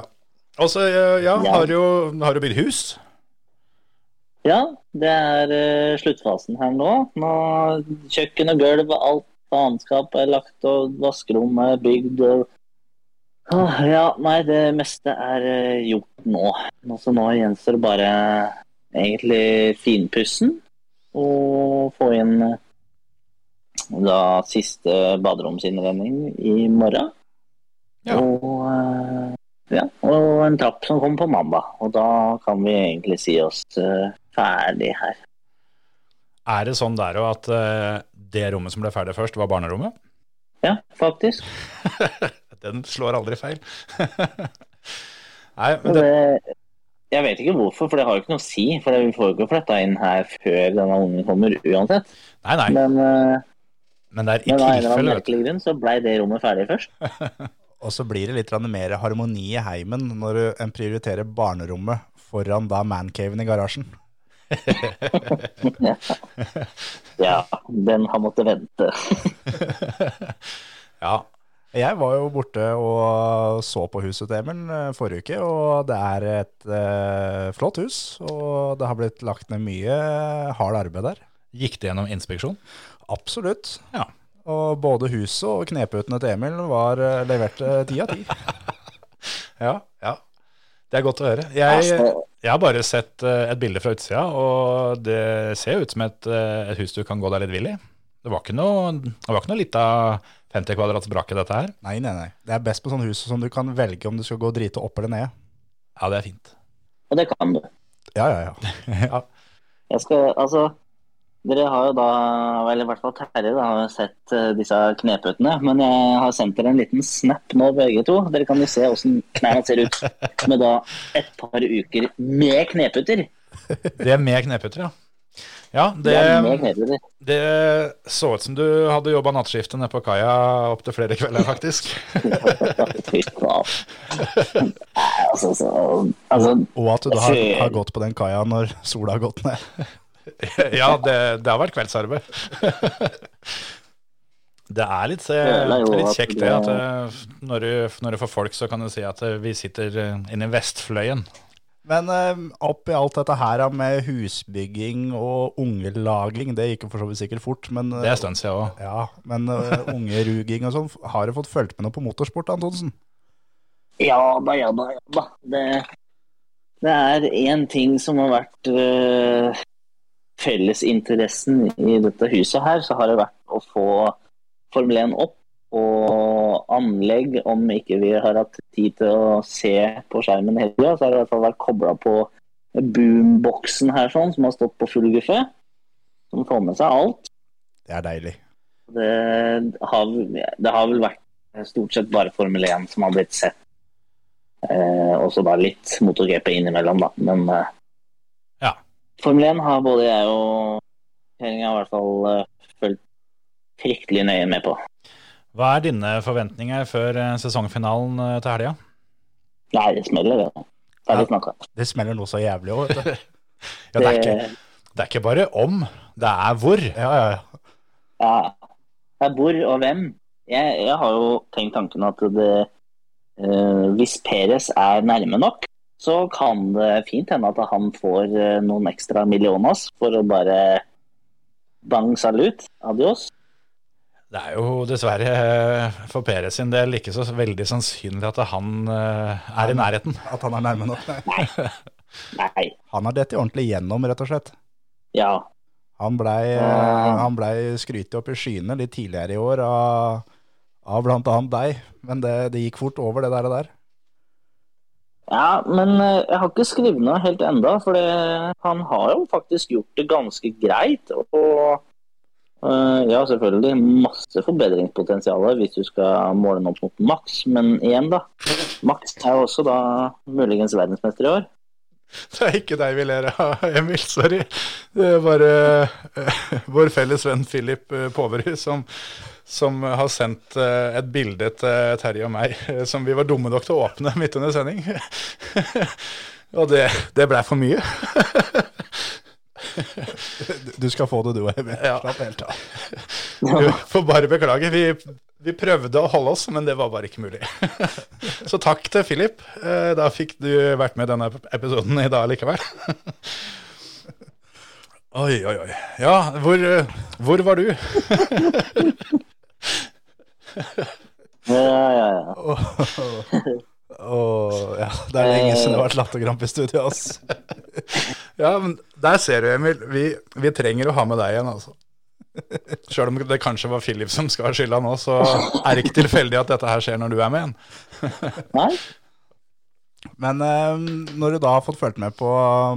A: Og så, eh, ja,
C: Ja.
A: har du, har du bygd hus?
C: Ja, det er eh, sluttfasen her nå. Nå Kjøkken og gulv og alt faenskap er lagt, og vaskerom er bygd. og... Åh, ja, nei, det meste er eh, gjort nå. Nå- Så nå gjenstår det bare egentlig finpussen og få inn eh, da siste baderomsinnredning i morgen.
A: Ja.
C: Og, eh, ja, og en trapp som kommer på mandag. Og da kan vi egentlig si oss eh, ferdig her.
A: Er det sånn der òg at eh, det rommet som ble ferdig først, var barnerommet?
C: Ja, faktisk.
A: [LAUGHS] Den slår aldri feil. [LAUGHS] Nei, men det,
C: Det, jeg vet ikke hvorfor, for det har jo ikke noe å si. For vi får jo ikke flytta inn her før denne ungen kommer uansett.
A: nei, nei,
C: Men, eh,
A: men det er i
C: men av en eller annen
A: tilfelle, vet du.
C: merkelig grunn så blei det rommet ferdig først.
B: Og så blir det litt grann mer harmoni i heimen når du- en prioriterer barnerommet foran da mancaven i garasjen.
C: Ja, den har måttet vente.
A: Ja,
B: Jeg var jo borte og så på huset til Emil eh, forrige uke, og det er et eh, flott hus. Og det har blitt lagt ned mye eh, hard arbeid der.
A: gikk det gjennom inspeksjon?
B: Absolutt.
A: Ja.
B: Og både huset og kneputene til Emil var eh, leverte ti av
A: [LAUGHS]
B: ti.
A: Ja, ja. Det er godt å høre.
C: Altså,
A: Jeg, jeg har bare sett eh, et bilde fra utsida, og det ser ut som et, eh, et hus du kan gå deg litt vill i. Det var ikke noe, det var ikke noe lita 50 kvadrats brakke, dette her.
B: Nei, nei, nei. Det er best på sånne hus som du kan velge om du skal gå og drite opp eller ned.
A: Ja, det er fint.
C: og det kan du.
B: Ja, ja, ja.
A: ja.
C: Jeg skal, altså, dere har jo da, eller i hvert fall Terje, da, har jo sett eh, disse kneputene. Men jeg har sendt dere en liten snap nå, begge to. Dere kan jo se åssen knærne ser ut med da et par uker med kneputer.
A: Det med kneputter, ja. Ja, det,
C: Det er mer kjedelig.
A: det så ut som du hadde jobba nattskiftet nede på kaia opptil flere kvelder, faktisk.
C: Fy faen. Nei, altså, så, altså
B: Og at du har, har gått på den kaia når sola har gått ned.
A: ja, det, det har vært kveldsarbeid. [LAUGHS] det er litt, se,
C: Føler jeg jo
A: det er litt
C: at
A: kjekt det, at eh, når du, når du får folk, så kan du si at eh, vi sitter eh, inne i Vestfløyen.
B: Men eh, opp i alt dette her med husbygging og ungelagring, det gikk jo for så vidt sikkert fort, men, eh,
A: Det er en stund siden òg.
B: ja, men eh, ungeruging og sånn, har du fått fulgt med noe på motorsport, Antonsen?
C: Ja da, ja da, ja da. Det, det er én ting som har vært øh, fellesinteressen i dette huset her, så har det vært å få Formel 1 opp og anlegg, om ikke vi har hatt tid til å se på skjermen hele tida, så har det i hvert fall vært kobla på boomboxen her sånn, som har stått på full guffe. Som får med seg alt.
B: Det er deilig.
C: Det har, det har vel vært stort sett bare Formel 1 som har blitt sett. Eh, også da litt motor-GP innimellom, da. Men eh,
A: Ja.
C: Formel 1 har både jeg og kjerringa i hvert fall eh, fulgt fryktelig nøye med på.
A: Hva er dine forventninger før eh, sesongfinalen eh, til helga?
C: Nei, det smeller, det. Ferdig snakka.
B: Det smeller noe så jævlig òg, vet du.
A: Ja, det, er ikke, det er ikke bare om, det er hvor.
B: Ja, ja, ja.
C: Ja. Det er hvor og hvem. Jeg, jeg har jo tenkt tanken at det eh, Hvis Peres er nærme nok, så kan det fint hende at han får eh, noen ekstra millioner for å bare bang salut. Adios.
A: Det er jo dessverre eh, for Peres sin del ikke så veldig sannsynlig at han eh, er i nærheten.
B: At han er nærme nok. Nei.
C: Nei.
B: Han har dette ordentlig gjennom, rett og slett.
C: Ja.
B: Han blei, eh, han blei skrytet opp i skyene litt tidligere i år av, av blant annet deg, men det, det gikk fort over, det der. og der.
C: ja men eh, jeg har ikke skrevet noe helt enda, for det, han har jo faktisk gjort det ganske greit. Og eh, ja, selvfølgelig masse forbedringspotensial hvis du skal måle den opp mot Max, men igjen, da. Max er jo også da muligens verdensmester i år.
A: Det er ikke deg vi ler av, Emil. [LAUGHS] Sorry. Det er bare eh, vår felles venn Philip eh, Påverud som, som har sendt eh, et bilde til Terje og meg eh, som vi var dumme nok til å åpne midt under sending. [LAUGHS] og det, det blei for mye.
B: Du skal få det, du òg, Emil.
A: Ja.
B: Slapp helt av.
A: [LAUGHS] Vi får bare beklage. Vi, vi prøvde å holde oss, men det var bare ikke mulig. [LAUGHS] Så takk til Philip. Eh, Da fikk du vært med i denne episoden i dag likevel. Oi, oi, oi. Ja, hvor, eh, hvor var du?
C: Ja, ja, ja.
B: Åh, ja, det er lenge siden det har vært latterkrampe i studio,
A: altså.
B: ass. [LAUGHS]
A: Ja, men Der ser du, Emil. Vi, vi trenger å ha med deg igjen, altså. Sjøl om det kanskje var Philip som skal ha skylda nå, så er det ikke tilfeldig at dette her skjer når du er med igjen.
C: Nei?
B: Men eh, når du da har fått fulgt med på,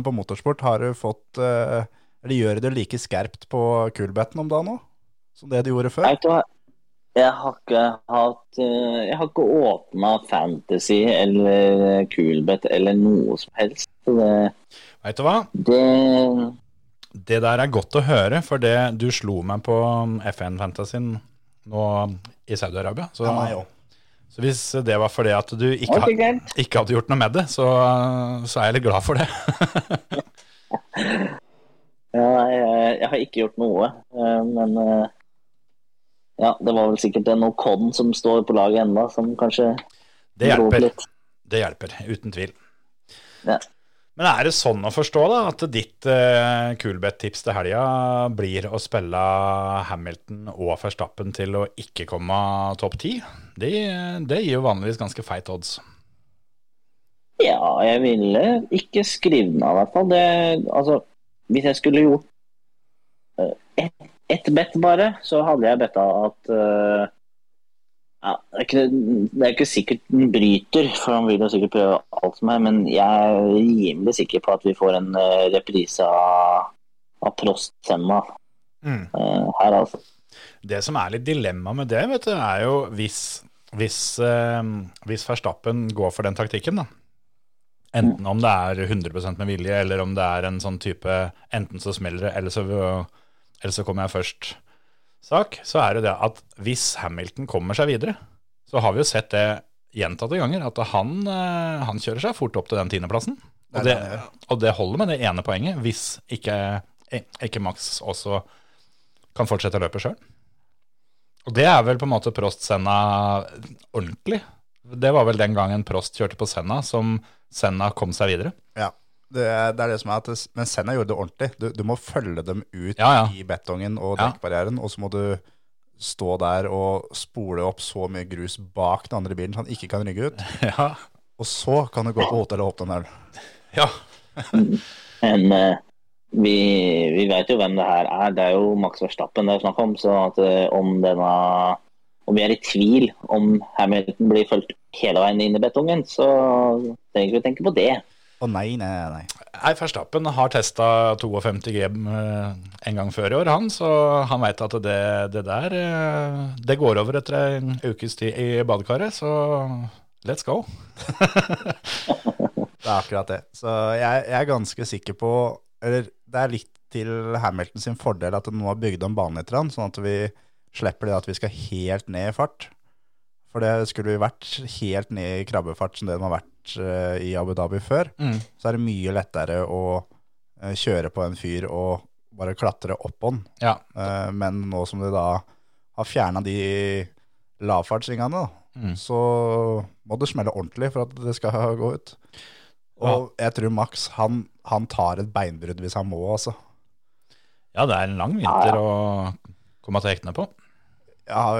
B: på motorsport, har du fått eh, Eller gjør du det like skerpt på coolbeten om dagen nå? Som det du gjorde før?
C: Vet du hva? Jeg har ikke hatt eh, Jeg har ikke åpna Fantasy eller Coolbet eller noe som helst. Så Det,
A: Veit du hva?
C: det
A: Det der er godt å høre, for det du slo meg på FN Fantasyen nå i Saudi-Arabia. Så,
B: Ja, meg også.
A: så hvis det var fordi at du ikke,
C: Ok,
A: ha-
C: greit.
A: ikke hadde gjort noe med det, så, uh, så er jeg litt glad for det.
C: Ja, jeg, jeg har ikke gjort noe, eh, men eh, ja, det var vel sikkert en Ocon som står på laget enda, som kanskje
A: Det
C: dro opp
A: hjelper.
C: litt.
A: Det hjelper, uten tvil.
C: Ja.
A: Men er det sånn å forstå da, at ditt eh, Coolbet-tips til helga blir å spille Hamilton og Verstappen til å ikke komme topp ti? Det, det gir jo vanligvis ganske feit odds.
C: Ja, jeg ville ikke skrive den av, i hvert fall. Det, altså, hvis jeg skulle gjort eh, ett ett bett bare, så hadde jeg betta at eh, ja, det, er ikke, det er ikke sikkert den bryter, for han vil jo sikkert prøve alt som er, men jeg er rimelig sikker på at vi får en eh, reprise av, av Prost-Semma
A: Mm.
C: eh, her, altså.
A: Det som er litt dilemma med det, vet du, er jo hvis, hvis, eh, hvis Verstappen går for den taktikken, da. Enten om det er 100 med vilje, eller om det er en sånn type enten så smeller det, eller så, eller så kommer jeg først-sak, så er det det at hvis Hamilton kommer seg videre, så har vi jo sett det gjentatte ganger, at han, eh, han kjører seg fort opp til den tiendeplassen. Og det,
B: Det er det han
A: og det holder med det ene poenget, hvis ikke, eh, ikke Max også kan fortsette løpet sjøl. Og det er vel på en måte Prost-Senna ordentlig. Det var vel den gangen Prost kjørte på Senna, som Senna kom seg videre.
B: Ja. Det er, det er det som er at det, Men Senna gjorde det ordentlig. Du, du må følge dem ut
A: Ja, ja.
B: i betongen og
A: Ja.
B: dekkbarrieren, og så må du stå der og spole opp så mye grus bak den andre bilen så han ikke kan rygge ut.
A: Ja.
B: Og så kan du gå på hotellet og hoppe en øl.
A: ja.
C: Men eh, vi, vi vet jo hvem det her er. Det er jo Max Verstappen det er snakk om. Så at, eh, om denne om vi er i tvil om Hamilton blir fulgt hele veien inn i betongen, så trenger vi ikke tenke på det.
B: Å nei, nei, nei.
A: Nei, Verstappen har testa 52 G eh, en gang før i år, han, så han veit at det, det der eh, Det går over etter en ukes tid i badekaret, så let's go.
B: Det er akkurat det. Så jeg, jeg er ganske sikker på Eller det er litt til Hamilton sin fordel at det nå har bygd om banen litt, grann, sånn at vi slipper det at vi skal helt ned i fart. For det skulle vi vært helt ned i krabbefart som det de har vært eh, i Abu Dhabi før,
A: Mm.
B: så er det mye lettere å eh, kjøre på en fyr og bare klatre opp on.
A: Ja.
B: Eh, Men nå som de da har fjerna de lavfartsringene, da,
A: Mm.
B: så må det smelle ordentlig for at det skal [LAUGHS] gå ut. Og jeg tror Max han, han tar et beinbrudd hvis han må, altså.
A: ja, det er en lang
C: Ja,
A: vinter å komme til hektene på.
B: Ja,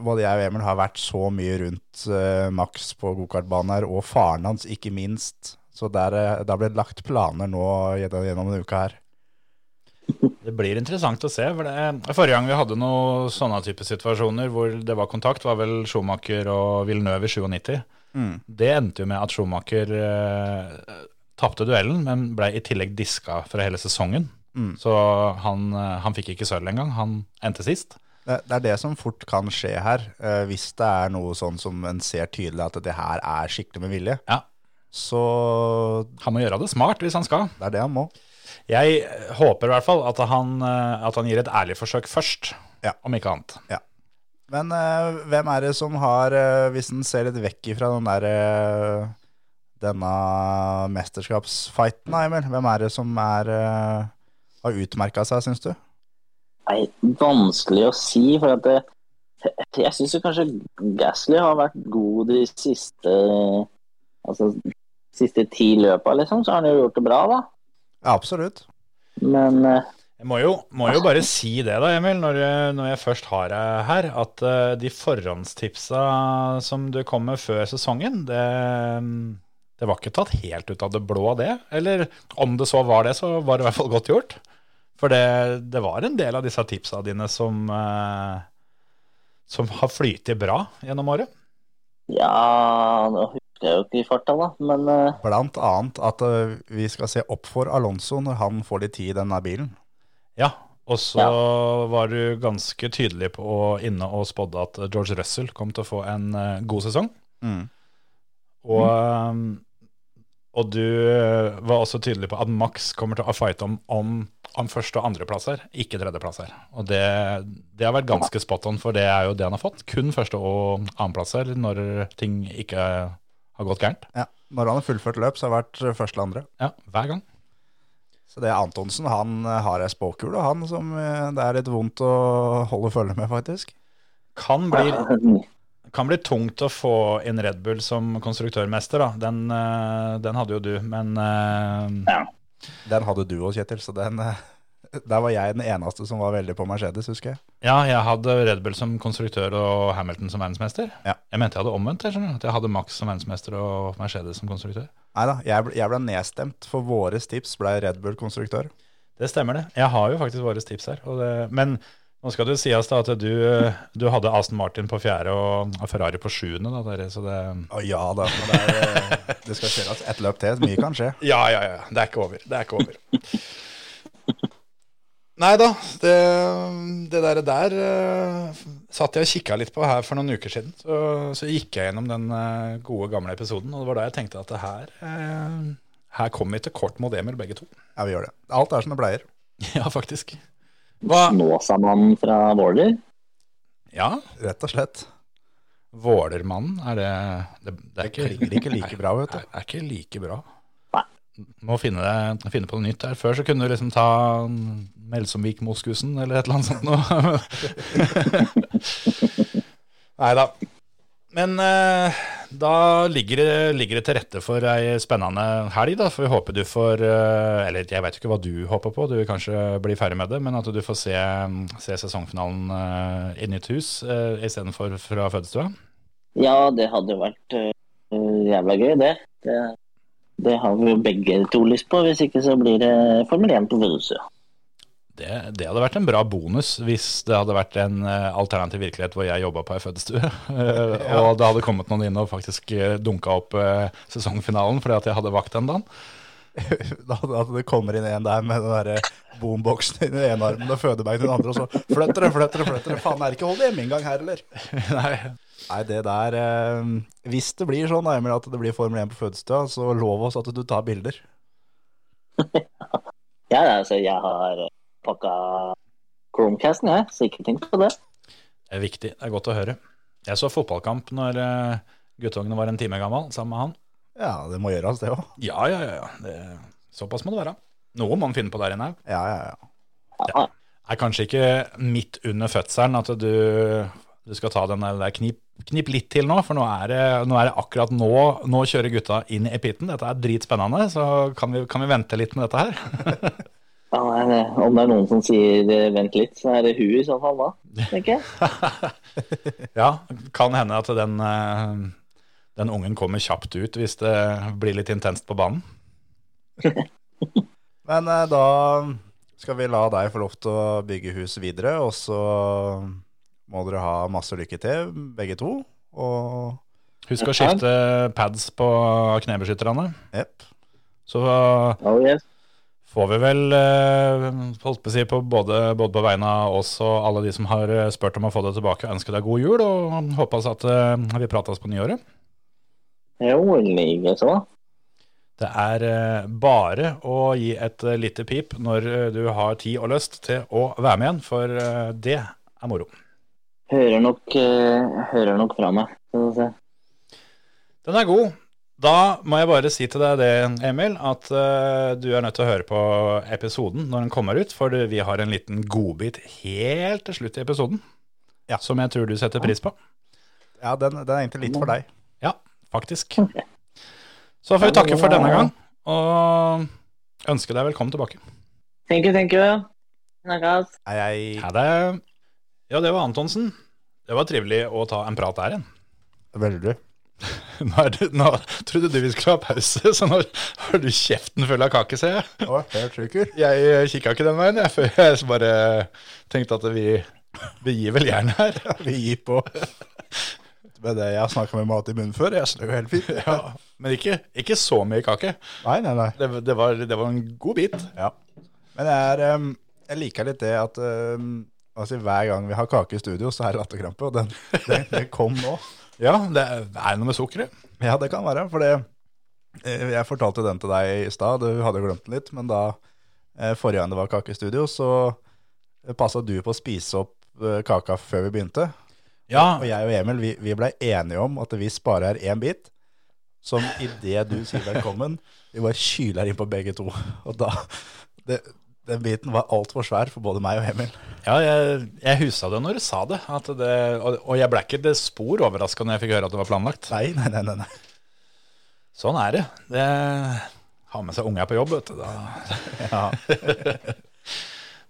B: både jeg og Emil har vært så mye rundt eh, Max på gokartbanen her, og faren hans ikke minst. Så der, eh, der ble det lagt planer nå gjennom, gjennom denne uka her.
A: Det blir interessant å se. For det, forrige gang vi hadde noen sånne type situasjoner hvor det var kontakt, var vel Schumacher og Villeneuve i 97. Det endte jo med at Schumacher eh, tapte duellen, men ble i tillegg diska fra hele sesongen.
B: Mm.
A: Så han, eh, han fikk ikke sølv engang. Han endte sist.
B: Det, det er det som fort kan skje her, eh, hvis det er noe sånn som en ser tydelig at det her er skikkelig med vilje.
A: Ja.
B: Så
A: Han må gjøre det smart hvis han skal.
B: det er det han må.
A: Jeg eh, håper i hvert fall at han, eh, at han gir et ærlig forsøk først,
B: Ja.
A: om ikke annet.
B: Men eh, hvem er det som har, eh, hvis en ser litt vekk ifra den der, eh, denne mesterskapsfighten, da, Emil, hvem er det som er, eh, har utmerka seg, syns du?
C: Nei, vanskelig å si, for at det, jeg syns jo kanskje Gasly har vært god de siste Altså siste ti løpa, liksom, så har han jo gjort det bra, da.
B: Ja, absolutt.
C: Men eh,
A: Jeg må jo, må jo bare si det, da, Emil, når jeg, når jeg først har deg her, at eh, de forhåndstipsa som du kom med før sesongen, det, mm, det var ikke tatt helt ut av det blå, det. Eller om det så var det, så var det i hvert fall godt gjort. For det, det var en del av disse tipsa dine som, eh, som har flytet bra gjennom året.
C: ja Nå husker jeg jo ikke i farta, da, men eh,
B: Blant annet at eh, vi skal se opp for Alonso når han får litt tid i denne bilen.
A: Ja, og så var du ganske tydelig på å inne og spådde at eh, George Russell kom til å få en eh, god sesong. Mm. Og, Mm. eh, og du eh, var også tydelig på at Max kommer til å fighte om, om, om første- og andreplasser, ikke tredjeplasser. Og det, det har vært ganske spot on, for det er jo det han har fått. Kun første- og annenplasser når ting ikke eh, har gått gærent.
B: Ja. Når han har fullført løp, så har det vært eh, første eller andre.
A: Ja, hver gang.
B: Så det er Antonsen, han eh, har ei spåkule, han som eh, det er litt vondt å holde følge med, faktisk.
A: Kan bli,
C: [LAUGHS]
A: kan bli tungt å få inn Red Bull som konstruktørmester, da. Den, eh, den hadde jo du, men eh,
C: ja.
B: Den hadde du òg, Kjetil, så den, eh, [LAUGHS] der var jeg den eneste som var veldig på Mercedes, husker jeg.
A: Ja, jeg hadde Red Bull som konstruktør og Hamilton som verdensmester.
B: Ja.
A: Jeg mente jeg hadde omvendt. Jeg skjønner, at jeg hadde Max som verdensmester og Mercedes som konstruktør.
B: Nei da, jeg, ble- jeg ble nedstemt, for våre tips ble Red Bull konstruktør.
A: Det stemmer, det. Jeg har jo faktisk våre tips her. Og det, men nå skal det jo sies da at du, eh, du hadde Aston Martin på fjerde og og Ferrari på sjuende. Da, dere, så det
B: Å ja da, men det, er, eh, det skal kjøres ett løp til, mye kan skje.
A: Ja, ja, ja. Det er ikke over. Det er ikke over. Nei da, det, det der, der eh, satt jeg og kikka litt på her for noen uker siden. Så, så gikk jeg gjennom den eh, gode, gamle episoden, og det var da jeg tenkte at det her, eh, her kom vi til kort mot Emil, begge to.
B: Ja, vi gjør det. Alt er som det pleier.
A: [LAUGHS] ja, faktisk. Hva?
C: Snåsamannen fra Våler.
A: Ja,
B: Rett og slett.
A: Vålermannen, er det Det, det er ikke,
B: Klinger ikke like bra, vet du.
A: er, er ikke like bra.
C: Nei.
A: Må finne, det, finne på noe nytt der. Før så kunne du liksom ta Melsomvik-moskusen eller et eller annet sånt [LAUGHS] noe. Nei da. Men eh, da ligger det, ligger det til rette for ei spennende helg, da. For vi håper du får eh, Eller jeg vet jo ikke hva du håper på, du vil kanskje bli ferdig med det. Men at du får se, se sesongfinalen eh, i nytt hus eh, istedenfor fra fødestua.
C: Ja, det hadde jo vært øh, jævla gøy, det. det. Det har vi jo begge to lyst på, hvis ikke så blir det Formel 1 på Vødesø.
A: Det, det hadde vært en bra bonus hvis det hadde vært en eh, alternativ virkelighet hvor jeg jobba på ei fødestue, [LAUGHS] eh, og det hadde kommet noen inn og faktisk eh, dunka opp eh, sesongfinalen fordi at jeg hadde vakt den dagen.
B: Da, da det kommer inn en der med den derre boomboxen i den ene armen og fødebagen i den andre, og så flytter det, flytter det, flytter det. Faen, er det ikke hold hjemme engang her, eller?
A: [LAUGHS] Nei,
B: Nei, det der eh, Hvis det blir sånn, da, Emil, at det blir Formel 1 på fødestua, så lov oss at du tar bilder.
C: Ja, ja, altså, jeg har pakka Chromecasten, jeg, så ikke tenk på det.
A: det er viktig. Det er godt å høre. Jeg så fotballkamp når eh, guttungen var en time gammel sammen med han.
B: Ja, det må gjøres, det òg.
A: Ja, ja, ja. ja. Det, såpass må det være. Noe må man finne på der inne òg.
B: Ja, ja, ja.
C: Ja,
A: er kanskje ikke midt under fødselen at du, du skal ta den der- der knip, knip litt til nå, for nå er, det, nå er det akkurat nå, nå kjører gutta inn i epiten. Dette er dritspennende, så kan vi, kan vi vente litt med dette her?
C: Ah, ja, nei, det- om det er noen som sier eh, 'vent litt', så er det hun i så fall da, tenker jeg.
A: [LAUGHS] ja, kan hende at den, eh, den ungen kommer kjapt ut hvis det blir litt intenst på banen.
B: Men eh, da skal vi la deg få lov til å bygge hus videre, og så må dere ha masse lykke til, begge to. Og
A: Husk å skifte pads på knebeskytterne.
B: jepp.
A: Så
C: Oh, yes.
A: får vi vel eh, holdt på å si på både, både på vegne av oss og alle de som har eh, spurt om å få det tilbake, og ønske deg god jul, og håpe oss at eh, vi prates på nyåret.
C: Jo, likeså.
A: Det er eh, bare å gi et eh, lite pip når eh, du har tid og lyst til å være med igjen, for eh, det er moro.
C: Hører nok, eh, hører nok fra meg. Skal vi se.
A: Den er god. Da må jeg bare si til deg det, Emil, at eh, du er nødt til å høre på episoden når den kommer ut, for vi har en liten godbit helt til slutt i episoden,
B: Ja.
A: som jeg tror du setter pris på.
B: Ja, den, den er egentlig litt for deg.
A: faktisk. Så får vi takke for denne gang, og ønske deg velkommen tilbake.
C: Thank you, thank you. Snakkes.
B: Hei, hei.
A: Ha det. Ja, det var Antonsen. Det var trivelig å ta en prat der igjen.
B: Veldig.
A: [LAUGHS] Nå, er du, nå trodde du vi skulle ha pause, så nå har du kjeften full av kake, ser jeg.
B: Å, helt sjukker.
A: Jeg kikka ikke den veien, jeg, for jeg bare tenkte at vi, vi gir vel jern her.
B: Vi gir på. Med det jeg har snakka med mat i munnen før, jeg slår jo helt fint.
A: Ja, men ikke, ikke så mye kake.
B: Nei, nei, nei.
A: Det, det, var, det var en god bit.
B: Ja. Men jeg, er, em, jeg liker litt det at em, altså, hver gang vi har kake i studio, så er det latterkrampe. Og den, den, den kom nå.
A: Ja, det er noe med sukkeret.
B: Ja, det kan være. For det, eh, jeg fortalte den til deg i stad, du hadde jo glemt den litt. Men da eh, forrige gang det var kake i studio, så passa du på å spise opp eh, kaka før vi begynte.
A: Ja,
B: Og jeg og Emil vi, vi ble enige om at vi sparer én bit. Som idet du sier velkommen, vi bare kyler inn på begge to. Og da det, Den biten var altfor svær for både meg og Emil.
A: Ja, jeg, jeg husa det når du sa det, at det og, og jeg ble ikke det spor overraska når jeg fikk høre at det var planlagt.
B: Nei, nei, nei. nei, nei.
A: Sånn er det. det ha med seg unga på jobb, vet du. Da.
B: Ja.
A: [LAUGHS]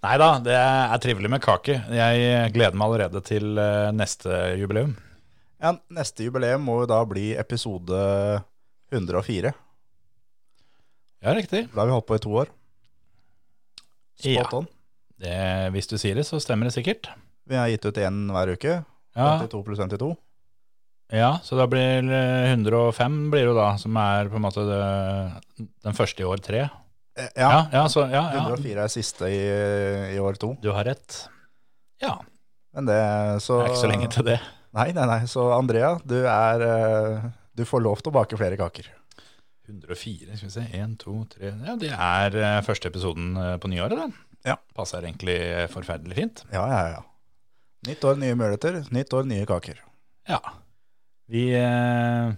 A: Nei da, det er trivelig med kake. Jeg gleder meg allerede til eh, neste jubileum.
B: Ja, neste jubileum må jo da bli episode 104.
A: Ja, riktig.
B: Da har vi holdt på i to år. Spot
A: Ja.
B: on.
A: Det, hvis du sier det, så stemmer det sikkert.
B: Vi har gitt ut én hver uke.
A: Ja,
B: 52 pluss 52.
A: ja så da blir eh, 105 blir det jo da, som er på en måte det, den første i år tre.
B: Eh,
A: Ja,
B: Ja,
A: ja, så, ja, ja.
B: 104 er siste i, i år to.
A: Du har rett. Ja,
B: Men det, så
A: det er ikke så lenge til det.
B: Nei, nei, nei. Så Andrea, du er eh, Du får lov til å bake flere kaker.
A: 104, skal vi se. 1, 2, 3 Ja, det er eh, første episoden eh, på nyåret, da.
B: Ja.
A: Passer egentlig eh, forferdelig fint.
B: Ja, ja, ja. Nytt år, nye muligheter. Nytt år, nye kaker.
A: Ja. Vi eh,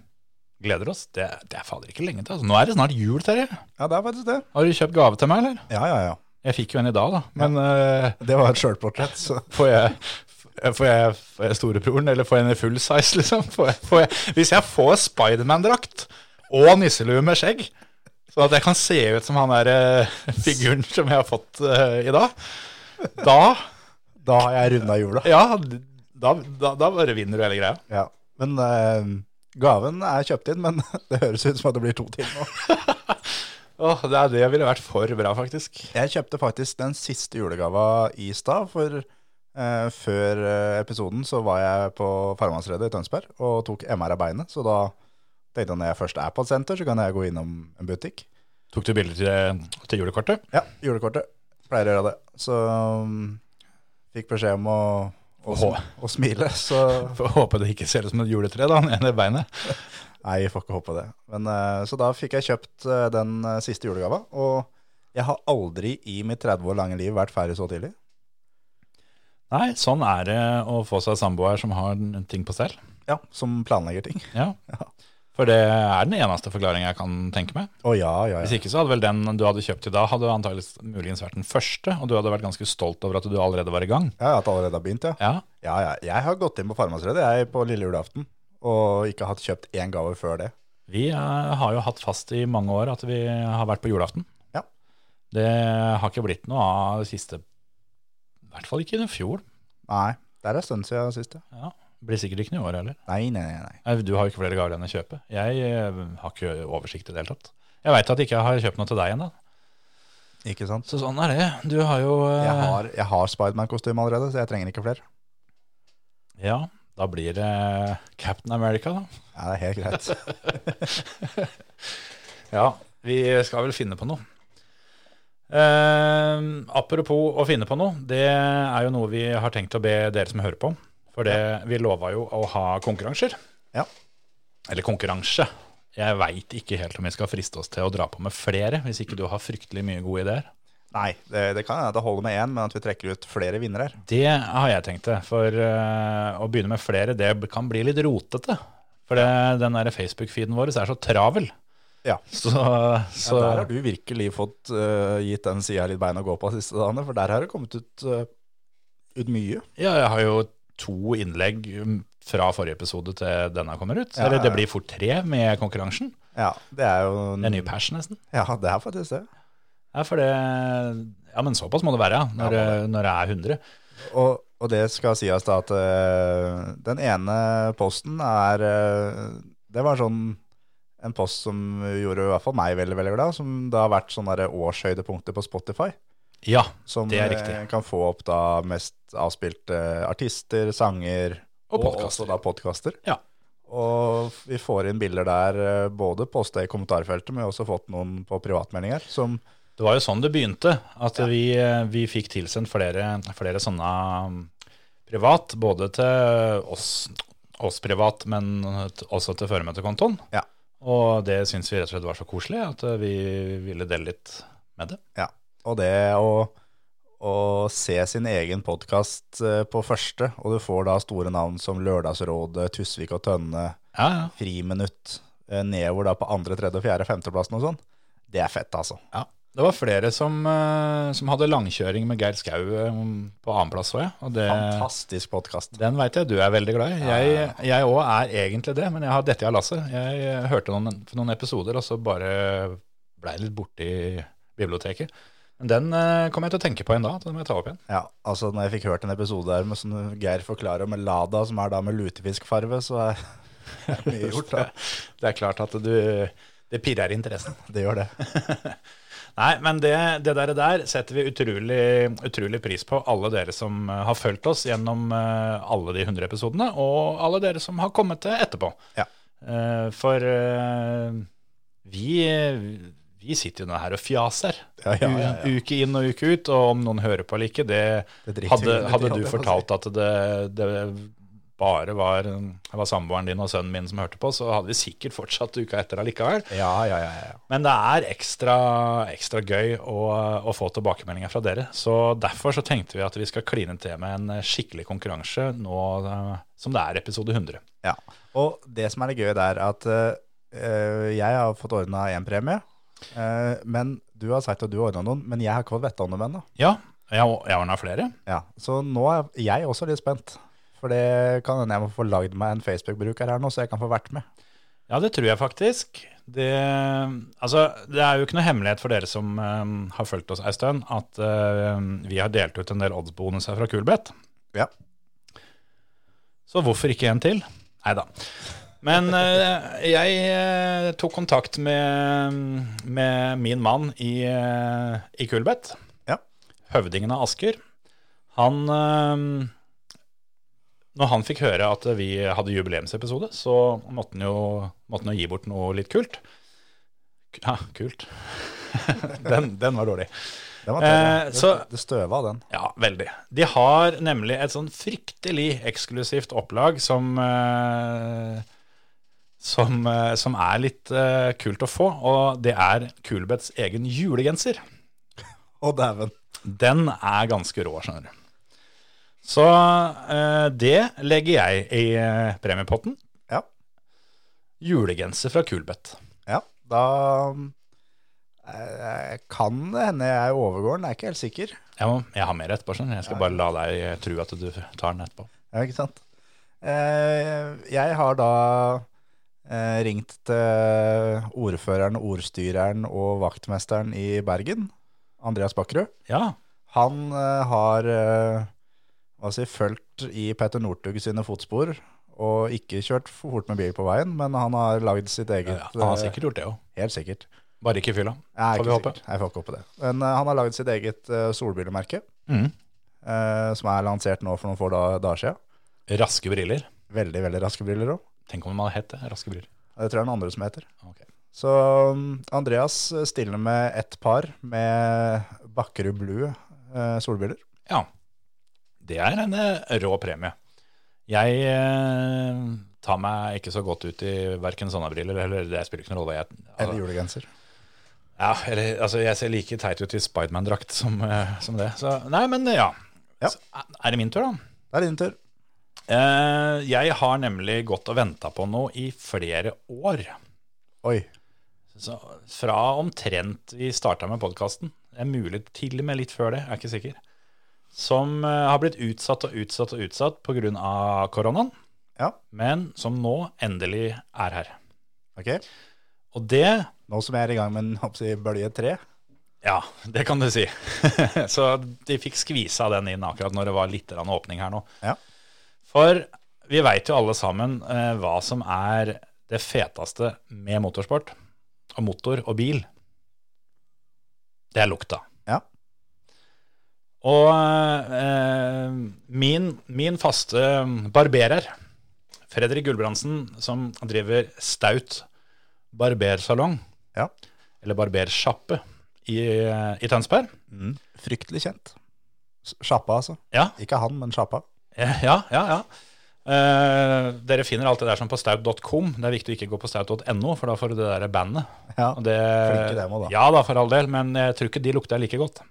A: gleder oss. Det, det er fader ikke lenge til. Altså. Nå er det snart jul, Terje.
B: Ja, det er faktisk det.
A: Har du kjøpt gave til meg, eller?
B: Ja, ja, ja.
A: Jeg fikk jo en i dag, da. Men eh,
B: Det var et sjølportrett, så
A: får, jeg, f- får, jeg, får jeg storebroren, eller får jeg en i full size, liksom? Får jeg, får jeg, hvis jeg får Spiderman-drakt og nisselue med skjegg, sånn at jeg kan se ut som han der eh, figuren som jeg har fått eh, i dag, da,
B: da har jeg runda jula.
A: ja, da, da, da bare vinner du hele greia.
B: Ja. Men eh, gaven er kjøpt inn, men [LAUGHS] det høres ut som at det blir to til nå.
A: Åh, det, er, det ville vært for bra, faktisk.
B: Jeg kjøpte faktisk den siste julegava i stad, for eh, før eh, episoden så var jeg på Farmannsredet i Tønsberg og tok MR av beinet, så da tenkte jeg når jeg først er på et senter, så kan jeg gå innom en butikk.
A: Tok du bilder til, eh, til julekortet?
B: Ja, julekortet. Pleier å gjøre det. Så um, fikk beskjed om å, å,
A: Åhå.
B: å smile, så
A: Får håpe det ikke ser ut som et juletre, da, nede i beinet.
B: Nei, jeg får ikke håpe det. Men, eh, så da fikk jeg kjøpt eh, den eh, siste julegava, og jeg har aldri i mitt 30 år lange liv vært ferdig så tidlig.
A: Nei, sånn er det å få seg samboer som har ting på stell.
B: Ja, som planlegger ting.
A: Ja. For det er den eneste forklaringen jeg kan tenke meg.
B: Å ja, ja,
A: Hvis
B: ja.
A: ikke så hadde vel den du hadde kjøpt i dag, hadde antagelig muligens vært den første, og du hadde vært ganske stolt over at du allerede var i gang.
B: Ja, At det allerede har begynt, ja.
A: Ja,
B: Ja, ja. Jeg har gått inn på Farmasredet, jeg, på lille julaften, og ikke hatt kjøpt én gave før det.
A: Vi eh, har jo hatt fast i mange år at vi har vært på julaften.
B: Ja.
A: Det har ikke blitt noe av det siste, i hvert fall ikke i fjor.
B: Nei, det er en stund siden sist, ja.
A: Ja. Blir sikkert ikke noe i år heller.
B: Nei, nei, nei. nei.
A: Nei, Du har jo ikke flere gaver enn å kjøpe. Jeg eh, har ikke oversikt i det hele tatt. Jeg veit at jeg ikke har kjøpt noe til deg ennå.
B: Ikke sant?
A: Så sånn er det. Du har jo eh,
B: Jeg har, jeg har Spiderman-kostyme allerede, så jeg trenger ikke flere.
A: Ja, da blir det Captain America, da.
B: Ja, det er helt
A: [LAUGHS]
B: greit.
A: Ja, vi skal vel finne på noe. Eh, apropos å finne på noe, det er jo noe vi har tenkt å be dere som hører på. For det, vi lova jo å ha konkurranser.
B: Ja.
A: Eller konkurranse. Jeg veit ikke helt om vi skal friste oss til å dra på med flere, hvis ikke du har fryktelig mye gode ideer.
B: Nei, det, det kan hende at det holder med én, men at vi trekker ut flere vinnere her.
A: Det har jeg tenkt det. For eh, å begynne med flere, det kan bli litt rotete. For det, den der Facebook-feeden vår er så travel.
B: Ja.
A: Så,
B: Ja,
A: så
B: der har du virkelig fått øh, gitt den sida litt bein å gå på de siste dagene, for der har det kommet ut, øh, ut mye.
A: Ja, jeg har jo to innlegg um, fra forrige episode til denne kommer ut.
B: Ja,
A: Eller
B: ja,
A: det
B: ja.
A: blir fort tre med konkurransen.
B: Ja, det er jo
A: Det er ny pers, nesten.
B: Ja, det er faktisk det.
A: Ja, for det, ja men såpass må det være, ja, når,
B: Ja,
A: det- når det er 100.
B: Og, og det skal sies da at øh, den ene posten er øh, Det var sånn en post som gjorde i hvert fall meg veldig veldig glad, som det har vært sånne der årshøydepunkter på Spotify.
A: Ja,
B: Som
A: Det er riktig.
B: eh, kan få opp da mest avspilte artister, sanger
A: og
B: også
A: podkaster.
B: da podkaster.
A: Ja.
B: Og vi får inn bilder der, eh, både posta i kommentarfeltet, men vi har også fått noen på privatmeldinger. Som
A: Det var jo sånn det begynte, at vi, eh, vi fikk tilsendt flere, flere sånne um, privat, både til oss, oss privat, men t- også til føremøtekontoen.
B: Ja.
A: Og det syntes vi rett og slett var så koselig, at eh, vi ville dele litt med det.
B: Og det å, å se sin egen podkast på første, og du får da store navn som Lørdagsrådet, Tusvik og Tønne,
A: Ja, ja.
B: Friminutt, eh, nedover da på andre, tredje, fjerde, femteplassen og sånn. Det er fett, altså.
A: Det var flere som, eh, som hadde langkjøring med Geir Skau eh, på annenplass, så jeg. Og det,
B: Fantastisk podkast.
A: den veit jeg du er veldig glad i.
B: Ja, ja, ja.
A: Jeg- Jeg òg er egentlig det, men jeg har dette av lasset. Jeg eh, hørte noen, for noen episoder, og så bare blei litt borti biblioteket. Men den eh, kom jeg til å tenke på en dag, så den må jeg ta opp igjen.
B: Ja, altså når jeg fikk hørt en episode der med sånn Geir forklarer om Lada, som er da med lutefiskfarve, så er [LAUGHS] det er mye gjort. da.
A: Det er klart at du Det pirrer interessen. [LAUGHS]
B: Det gjør det.
A: Nei, men det, det der, der setter vi utrolig, utrolig pris på, alle dere som eh, har fulgt oss gjennom eh, alle de 100 episodene, og alle dere som har eh, kommet til etterpå.
B: Ja.
A: Eh, For eh, vi, Vi sitter jo nå her og fjaser
B: Ja, ja, ja, ja.
A: u- uke inn og uke ut, og om noen hører på eller ikke, det
B: Det driter vi
A: hadde,
B: i.
A: hadde du
B: Ja, det-
A: fortalt at det, det bare var, det var samboeren din og sønnen min som hørte på, så hadde vi sikkert fortsatt uka etter allikevel.
B: Ja, ja, ja, ja.
A: Men det er ekstra, ekstra gøy å, å få tilbakemeldinger fra dere. Så derfor så tenkte vi at vi skal kline til med en skikkelig konkurranse nå eh, som det er episode 100.
B: Ja. Og det som er det gøye der, er at eh, jeg har fått ordna én premie. eh, men du har sagt at du har ordna noen, men jeg har ikke fått vite om dem ennå.
A: Ja, jeg, jeg ordna flere.
B: Ja. Så nå er jeg også litt spent. For det kan hende jeg må få lagd meg en Facebook-bruker her nå, så jeg kan få vært med.
A: Ja, det tror jeg faktisk. Det, altså, det er jo ikke noe hemmelighet for dere som eh, har fulgt oss ei stund, at eh, vi har delt ut en del oddsbonuser fra Kulbeth.
B: Ja.
A: Så hvorfor ikke en til? Nei da. Men eh, jeg eh, tok kontakt med, med min mann i, eh, i Kulbeth.
B: Ja.
A: Høvdingen av Asker. Han eh, når han fikk høre at vi hadde jubileumsepisode, så måtte han jo, måtte han jo gi bort noe litt kult. K- Ja, kult. [LAUGHS] den, den var dårlig.
B: Den var tørre.
A: Eh,
B: det,
A: så-
B: det støva av den.
A: Ja, veldig. De har nemlig et sånn fryktelig eksklusivt opplag som eh, som, eh, som er litt eh, kult å få, og det er Kulbets egen julegenser.
B: Å, dæven.
A: Den er ganske rå, skjønner du. Så eh, det legger jeg i eh, premiepotten.
B: Ja.
A: Julegenser fra Kulbeth.
B: Ja, da eh, kan det hende jeg overgår den, jeg er ikke helt sikker.
A: Jeg, må, jeg har mer etterpå, skjønner du. Jeg skal bare la deg eh, tro at du tar den etterpå.
B: Ja, ikke sant? Eh, jeg har da eh, ringt til ordføreren, ordstyreren og vaktmesteren i Bergen, Andreas Bakkerud.
A: Ja,
B: Han eh, har eh, hva si, fulgt i Petter Northug sine fotspor, og ikke kjørt for fort med bil på veien, men han har lagd sitt eget
A: ja, han har
B: eh,
A: sikkert gjort det òg.
B: Helt sikkert.
A: Bare ikke i fylla.
B: Jeg,
A: Får
B: er
A: vi
B: ikke
A: håpe.
B: sikker. jeg får ikke håpe det. Men eh, han har lagd sitt eget eh, solbrillemerke,
A: Mm.
B: eh, som er lansert nå for noen få da- dager siden.
A: Mm. Raske briller.
B: Veldig, veldig raske briller òg.
A: Tenk om de hadde hett det. Raske briller.
B: Det tror jeg er noen andre som heter.
A: Ok.
B: Så um, Andreas stiller med ett par med Bakkerud Blue eh, solbriller.
A: Ja. Det er en eh, rå premie. Jeg eh, tar meg ikke så godt ut i verken sånne briller eller Det spiller ikke noen rolle. Jeg,
B: Eller julegenser.
A: Ja, eller, altså jeg ser like teit ut i Spiderman-drakt som, eh, som det. Så, nei, men eh, ja.
B: Ja.
A: Så, eh, er det min tur, da?
B: Det er din tur.
A: Eh, jeg har nemlig gått og venta på noe i flere år.
B: Oi.
A: Så fra omtrent vi starta med podkasten, det er mulig til og med litt før det, jeg er ikke sikker, som eh, har blitt utsatt og utsatt og utsatt pga. koronaen,
B: Ja.
A: men som nå endelig er her.
B: Ok.
A: Og det
B: Nå som jeg er i gang med en hoppsi, bølge tre.
A: Ja, det kan du si. [LAUGHS] så de fikk skvisa den inn akkurat når det var litt grann åpning her nå.
B: Ja.
A: For vi veit jo alle sammen eh, hva som er det feteste med motorsport, og motor og bil. Det er lukta.
B: Ja.
A: Og eh, min, min faste barberer, Fredrik Gulbrandsen, som driver Staut barbersalong,
B: Ja.
A: eller barbersjappe, i, i Tønsberg.
B: Mm. Fryktelig kjent. S- Sjappa, altså.
A: Ja,
B: Ikke han, men sjappa.
A: ja, ja. ja. Eh, dere finner alt det der som på staut.com. Det er viktig å ikke gå på staut.no, for da får du det der bandet.
B: Ja.
A: Og det,
B: Flinke dem også, da.
A: Ja da, for all del, men jeg tror ikke de lukter like godt.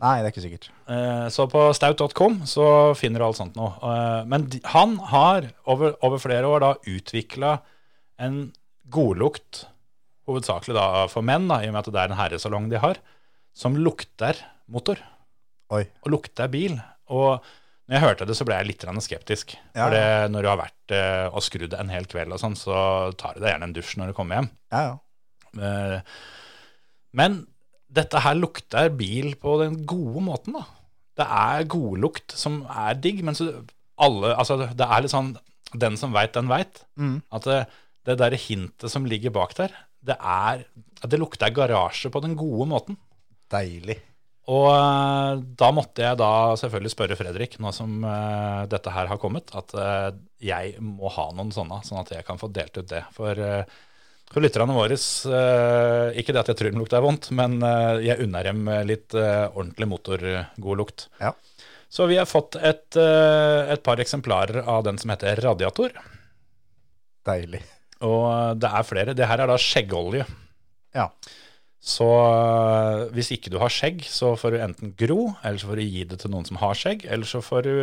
B: Nei, det er ikke sikkert.
A: Eh, så på staut.com så finner du alt sånt nå. Eh, men de, han har over, over flere år da utvikla en godlukt, hovedsakelig da for menn, da, i og med at det er en herresalong de har, som lukter motor.
B: Oi.
A: og lukta bil. Og når jeg hørte det, så ble jeg litt grann skeptisk.
B: Ja,
A: For det, når du har vært eh, og skrudd en hel kveld, og sånn, så tar du deg gjerne en dusj når du kommer hjem.
B: Ja, ja.
A: Eh, men dette her lukter bil på den gode måten, da. Det er godlukt som er digg, men så alle Altså, det er litt sånn Den som veit, den veit.
B: Mm.
A: At det, det derre hintet som ligger bak der, det er Det lukter garasje på den gode måten.
B: Deilig.
A: Og eh, da måtte jeg da selvfølgelig spørre Fredrik, nå som eh, dette her har kommet, at eh, jeg må ha noen sånne, sånn at jeg kan få delt ut det. For eh, Så lytterne våre, eh, ikke det at jeg tror dem lukter vondt, men eh, jeg unner dem litt eh, ordentlig motorgod lukt.
B: Ja.
A: Så vi har fått et, eh, et par eksemplarer av den som heter Radiator.
B: Deilig.
A: Og eh, det er flere. Det her er da skjeggolje.
B: Ja.
A: Så øh, hvis ikke du har skjegg, så får du enten gro, eller så får du gi det til noen som har skjegg, eller så får du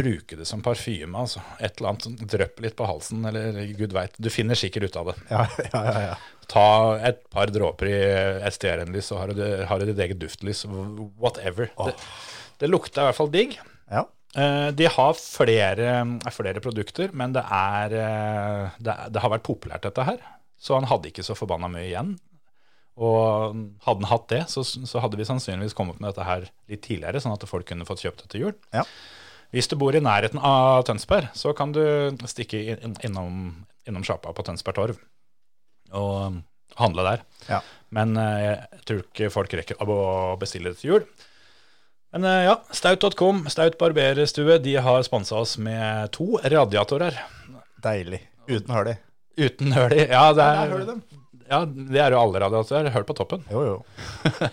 A: bruke det som parfyme. altså. Et eller annet sånn drypp litt på halsen, eller gud veit. Du finner sikkert ut av det.
B: Ja, [LAUGHS] ja, ja. ja.
A: Ta et par dråper i STR-en-lys, så har du, det- har du ditt eget duftlys. Whatever. Det, det lukta i hvert fall digg.
B: ja.
A: Eh, De har flere, eh, flere produkter, men det, er, eh, det, er- det har vært populært dette her. Så han hadde ikke så forbanna mye igjen. Og hadde han hatt det, så, så hadde vi sannsynligvis kommet med dette her litt tidligere, sånn at folk kunne fått kjøpt det til jul.
B: Ja.
A: Hvis du bor i nærheten av Tønsberg, så kan du stikke inn- innom, innom sjappa på Tønsberg Torv og handle der.
B: Ja.
A: Men eh, jeg tror ikke folk rekker å bestille det til jul. Men eh, ja, staut.com, Staut barberstue, de har sponsa oss med to radiatorer.
B: Deilig. Uten høl i.
A: Uten høl i. Ja, det
B: Der
A: er,
B: hører du dem.
A: ja, det er jo alle radiatorer. Høl på toppen.
B: Jo, jo.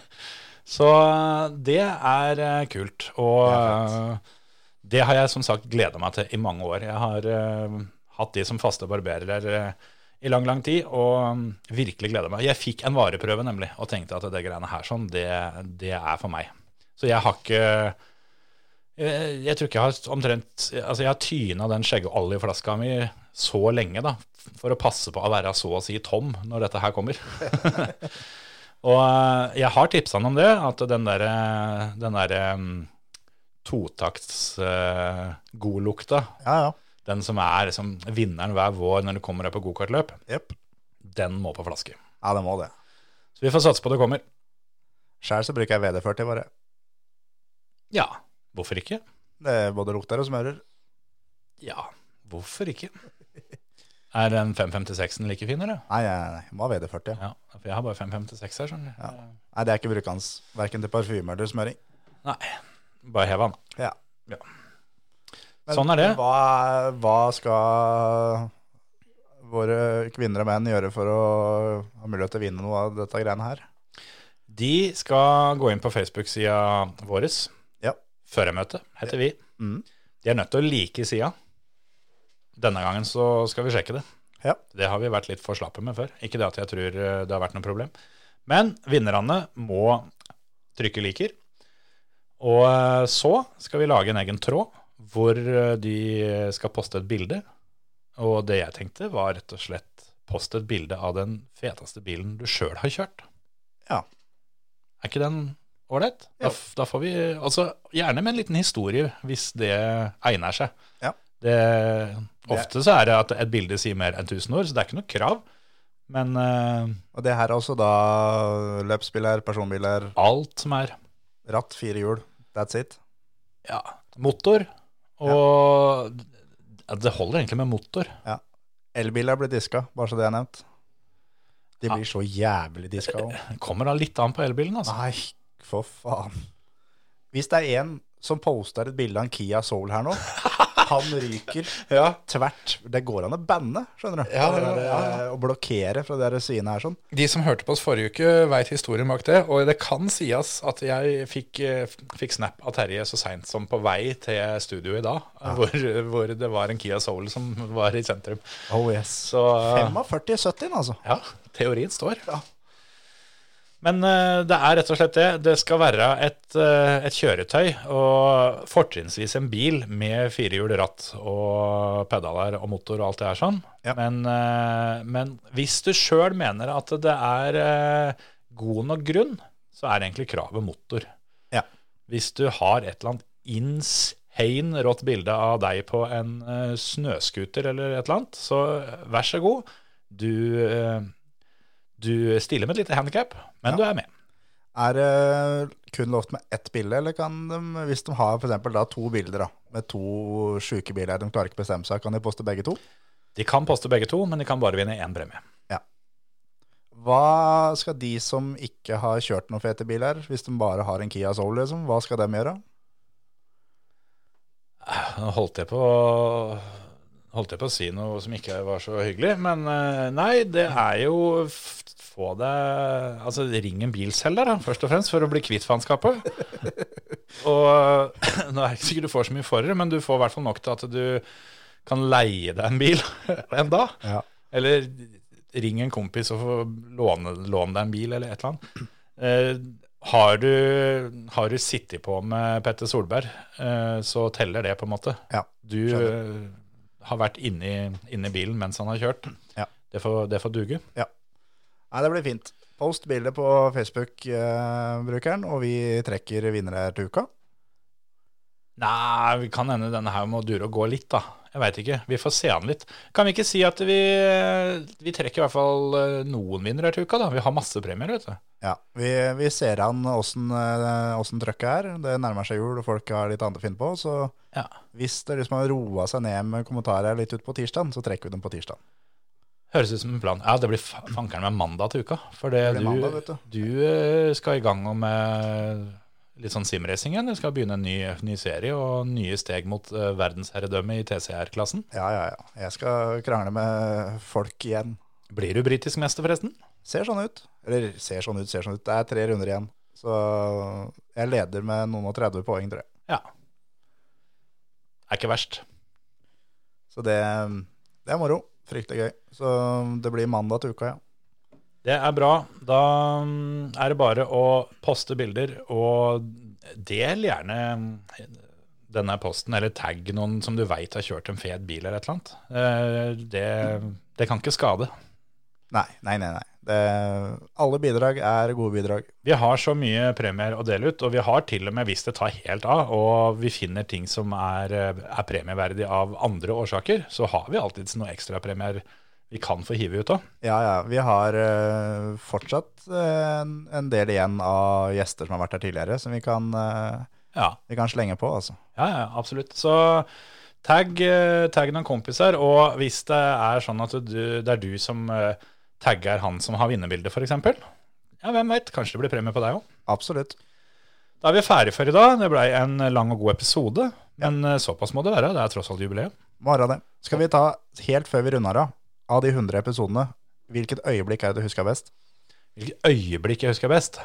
A: Så eh, det er eh, kult. Og eh, det har jeg som sagt gleda meg til i mange år. Jeg har eh, hatt de som faste barberer eh, i lang, lang tid, og mm, virkelig gleda meg. Jeg fikk en vareprøve, nemlig, og tenkte at det greiene her sånn, det, det er for meg. Så jeg har ikke eh, Jeg tror ikke jeg har omtrent Altså, jeg har tyna den skjeggeoljeflaska mi så lenge, da, for å passe på å være så å si tom når dette her kommer. Og eh, jeg har tipsa han om det, at den der, eh, den der em, totakts eh, godlukta,
B: Ja, ja.
A: den som er liksom, vinneren hver vår når du kommer deg på gokartløp,
B: Jepp.
A: den må på flaske.
B: Ja, det må det.
A: Så vi får satse på det kommer.
B: Sjæl så bruker jeg VD40 bare.
A: Ja, hvorfor ikke?
B: Det både lukter og smører.
A: Ja, hvorfor ikke? Er den 556-en like fin, eller?
B: Nei, nei, nei. Må ha VD40. ja.
A: Ja, for jeg har bare 556 her, skjønner du.
B: Ja. Nei, det er ikke brukende verken til parfyme eller smøring.
A: Nei, bare hev den.
B: Ja.
A: Ja. Sånn er det.
B: Hva, hva skal våre kvinner og menn gjøre for å ha mulighet til å vinne noe av dette greiene her?
A: De skal gå inn på Facebook-sida våres.
B: Ja.
A: Førermøte heter vi.
B: Mm.
A: De er nødt til å like sida. Denne gangen så skal vi sjekke det.
B: Ja.
A: Det har vi vært litt for slappe med før. Ikke det at jeg tror eh, det har vært noe problem. Men vinnerne må trykke liker. Og eh, så skal vi lage en egen tråd hvor eh, de skal poste et bilde. Og det jeg tenkte var rett og slett poste et bilde av den feteste bilen du sjøl har kjørt.
B: Ja.
A: Er ikke den ålreit? Da,
B: Jo.
A: f- da får vi altså, Gjerne med en liten historie, hvis det egner seg.
B: Ja.
A: Det, ofte så er det at et bilde sier mer enn 1000 ord, så det er ikke noe krav. Men eh,
B: Og det her er også da løpsbiler, personbiler,
A: alt som er
B: ratt, fire hjul. That's it.
A: ja, motor Og ja, det holder egentlig med motor.
B: Elbiler blir diska, bare så det er nevnt. De blir så jævlig diska òg.
A: Det kommer da litt an på elbilen, Eh, altså.
B: Nei, for faen. Hvis det er en som poster et bilde av en Kia Soul her nå, han ryker
A: [LAUGHS] Ja.
B: tvert. Det går an å banne, skjønner du.
A: Ja,
B: Det
A: ja,
B: der,
A: ja,
B: eh, Å blokkere fra de der sidene her sånn.
A: De som hørte på oss forrige uke, veit historien bak det. Og det kan sies at jeg fikk, eh, fikk snap av Terje så seint som på vei til studio i dag, hvor, hvor det var en Kia Soul som var i sentrum.
B: Oh yes.
A: Så
B: 45-70, altså.
A: ja, teorien står.
B: Ja.
A: Men eh, det er rett og slett det. Det skal være et, eh, et kjøretøy, og fortrinnsvis en bil med firehjul, ratt og pedaler og motor og alt det her sånn.
B: Ja.
A: Men, eh, men hvis du sjøl mener at det er eh, god nok grunn, så er egentlig kravet motor.
B: Ja.
A: Hvis du har et eller annet insane rått bilde av deg på en eh, snøskuter eller et eller annet, så vær så god. Du eh, du stiller med et lite handikap, men
B: Ja.
A: du er med.
B: Er det kun lovt med ett bilde, eller kan de, hvis de har for eksempel da to bilder da, med to sjuke biler de klarer ikke bestemme seg, kan de poste begge to?
A: De kan poste begge to, men de kan bare vinne én premie.
B: Hva skal de som ikke har kjørt noen fete biler, hvis de bare har en Kia Soul, liksom, hva skal de gjøre?
A: Nå holdt jeg på å- holdt jeg på å si noe som ikke var så hyggelig, men eh, nei, det er jo f- få deg Altså, ring en bilselger, da, først og fremst, for å bli kvitt faenskapet. Og [CLEARS THROAT] nå er det ikke sikkert du får så mye for det, men du får i hvert fall nok til at du kan leie deg en bil [LAUGHS] enda.
B: Ja.
A: Eller ring en kompis og få låne, låne deg en bil, eller et eller annet. Eh, har du, har du sittet på med Petter Solberg, eh, så teller det, på en måte.
B: Ja,
A: Du eh, har vært inni, inni bilen mens han har kjørt.
B: Ja.
A: Det, får, det får duge.
B: Nei, det blir fint. Post bildet på Facebook-brukeren, og vi trekker vinnere til uka.
A: Nei, vi kan hende denne her må dure og gå litt, da. Jeg veit ikke. Vi får se an litt. Kan vi ikke si at vi, vi trekker i hvert fall eh, noen vinnere til uka, da? Vi har masse premier, vet du.
B: Ja, vi, vi ser an åssen eh, åssen trøkket er. Det nærmer seg jul, og folk har litt annet å finne på. Så
A: Ja.
B: hvis det liksom har roa seg ned med kommentarer litt ut på tirsdag, så trekker vi dem på tirsdag.
A: Høres ut som en plan. Ja, det blir fa- fankeren meg mandag til uka. For det,
B: Det blir
A: du,
B: mandag, vet du.
A: eh, skal i gang med litt sånn simracing igjen. Du skal begynne en ny, ny serie og nye steg mot eh, verdensherredømme i TCR-klassen.
B: Ja, ja, ja. Jeg skal krangle med folk igjen.
A: Blir du britisk mester, forresten?
B: Ser sånn ut. Eller ser sånn ut, ser sånn ut. Det er tre runder igjen. Så jeg leder med noen og 30 poeng, tror jeg.
A: Ja. Er ikke verst.
B: Så det, det er moro. Fryktelig gøy. Så det blir mandag til uka, ja.
A: Det er bra. Da mm, er det bare å poste bilder, og del gjerne mm, denne posten, eller tagg noen som du veit har kjørt en fet bil eller et eller annet. Eh, Det, det kan ikke skade.
B: Nei, nei, nei. nei. Det, alle bidrag er gode bidrag.
A: Vi har så mye premier å dele ut, og vi har til og med, hvis det tar helt av, og vi finner ting som er, eh, er premieverdig av andre årsaker, så har vi alltids noen ekstrapremier vi kan få hive ut av.
B: Ja, ja. Vi har eh, fortsatt eh, en, en del igjen av gjester som har vært her tidligere, som vi kan, eh,
A: Ja,
B: vi kan slenge på, altså.
A: ja, ja absolutt. Så tagg, eh, tagg noen kompiser, og hvis det er sånn at du, det er du som eh, tagger han som har vinnerbildet, for eksempel, ja, hvem vet, kanskje det blir premie på deg også.
B: Absolutt.
A: Da er vi ferdig for i dag. Det ble en lang og god episode, men eh, såpass må det være. Det er tross alt jubileet.
B: Morgen det. Skal vi ta, helt før vi runder av, av de 100 episodene, hvilket øyeblikk er det du husker best?
A: Hvilket øyeblikk jeg husker best?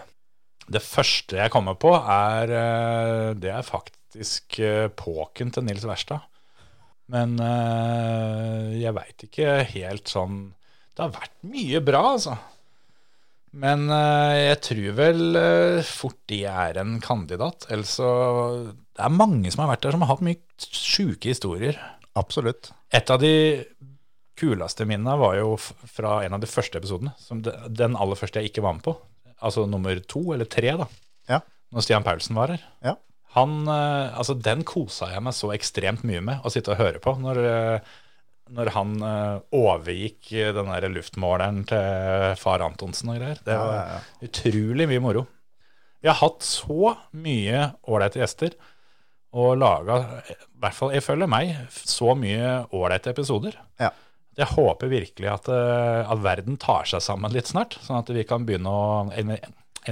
A: Det første jeg kommer på, er eh, Det er faktisk eh, påken til Nils Verstad. Men eh, jeg veit ikke helt sånn Det har vært mye bra, altså. Men eh, jeg tror vel eh, fort de er en kandidat. Ellers så Det er mange som har vært der, som har hatt mye sjuke historier.
B: Absolutt.
A: Et av de kuleste minnene var jo f- fra en av de første episodene. Som de, den aller første jeg ikke var med på. Altså nummer to eller tre, da.
B: Ja.
A: Når Stian Paulsen var her.
B: Ja.
A: Han, eh, altså Den kosa jeg meg så ekstremt mye med å sitte og høre på. Når, eh, når han eh, overgikk eh, den der luftmåleren til far Antonsen og greier. Det
B: Ja,
A: var
B: ja, ja.
A: utrolig mye moro. Vi har hatt så mye ålreite gjester og laga, i hvert fall ifølge meg, så mye ålreite episoder.
B: Ja.
A: Jeg håper virkelig at, eh, at verden tar seg sammen litt snart, sånn at vi kan begynne å invi-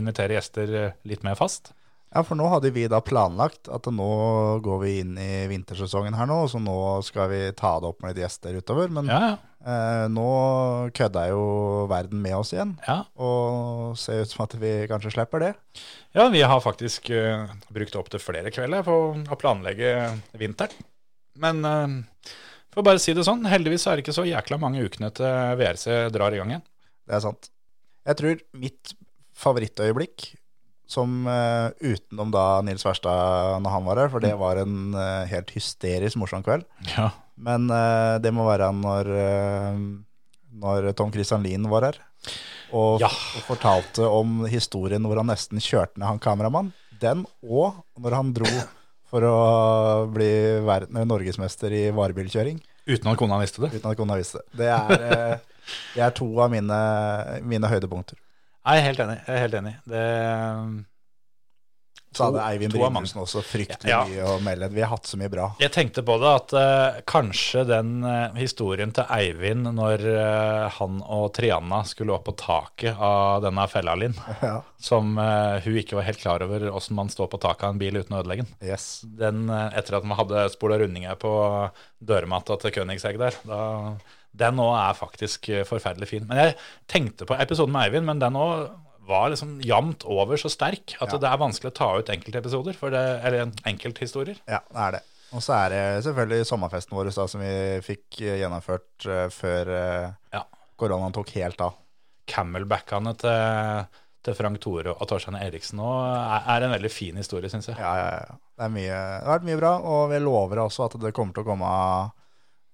A: invitere gjester eh, litt mer fast.
B: Ja, for nå hadde vi da planlagt at nå går vi inn i vintersesongen her nå, så nå skal vi ta det opp med litt gjester utover. Men
A: Ja, ja,
B: eh, nå kødda jo verden med oss igjen,
A: ja.
B: og ser ut som at vi kanskje slipper det.
A: ja, vi har faktisk eh, brukt opp til flere kvelder på å planlegge vinteren. Men eh, for å bare si det sånn, heldigvis så er det ikke så jækla mange ukene til VRC drar i gang igjen.
B: Det er sant. Jeg tror mitt favorittøyeblikk, som eh, utenom da Nils Verstad når han var her, for det var en eh, helt hysterisk morsom kveld,
A: Ja.
B: men eh, det må være når, eh, når Tom Christian Lien var her, og,
A: Ja.
B: og fortalte om historien hvor han nesten kjørte ned han kameramann. Den og når han dro
A: [LAUGHS]
B: for å bli verden, norgesmester i varebilkjøring
A: Uten at kona visste det.
B: uten at kona visste det. Det er, eh, det er to av mine, mine høydepunkter.
A: eh, Nei, Jeg er helt enig. Jeg er helt enig. Det,
B: Så hadde Eivind
A: to av mange.
B: Brynesen også fryktelig
A: Ja.
B: mye å melde. Vi har hatt så mye bra.
A: Jeg tenkte på det at eh, kanskje den eh, historien til Eivind når eh, han og Triana skulle opp på taket av denne fella Linn,
B: Ja.
A: som eh, hun ikke var helt klar over åssen man står på taket av en bil uten å ødelegge den.
B: Yes.
A: den eh, etter at man hadde spola rundinger på dørmatta til Königsegg der. Da, den òg er faktisk eh, forferdelig fin. Men jeg tenkte på episoden med Eivind, men den òg var liksom jevnt over så sterk at
B: Ja.
A: det er vanskelig å ta ut enkeltepisoder, for det, eller enkelthistorier.
B: Ja, det er det. Og så er det selvfølgelig sommerfesten vår da, som vi fikk eh, gjennomført eh, før eh,
A: Ja.
B: koronaen tok helt av.
A: Camelbackene til, til Frank Tore og Torstein Eriksen òg er, er en veldig fin historie, syns jeg.
B: Ja, ja, ja. Det, er mye, det har vært mye bra, og vi lover også at det kommer til å komme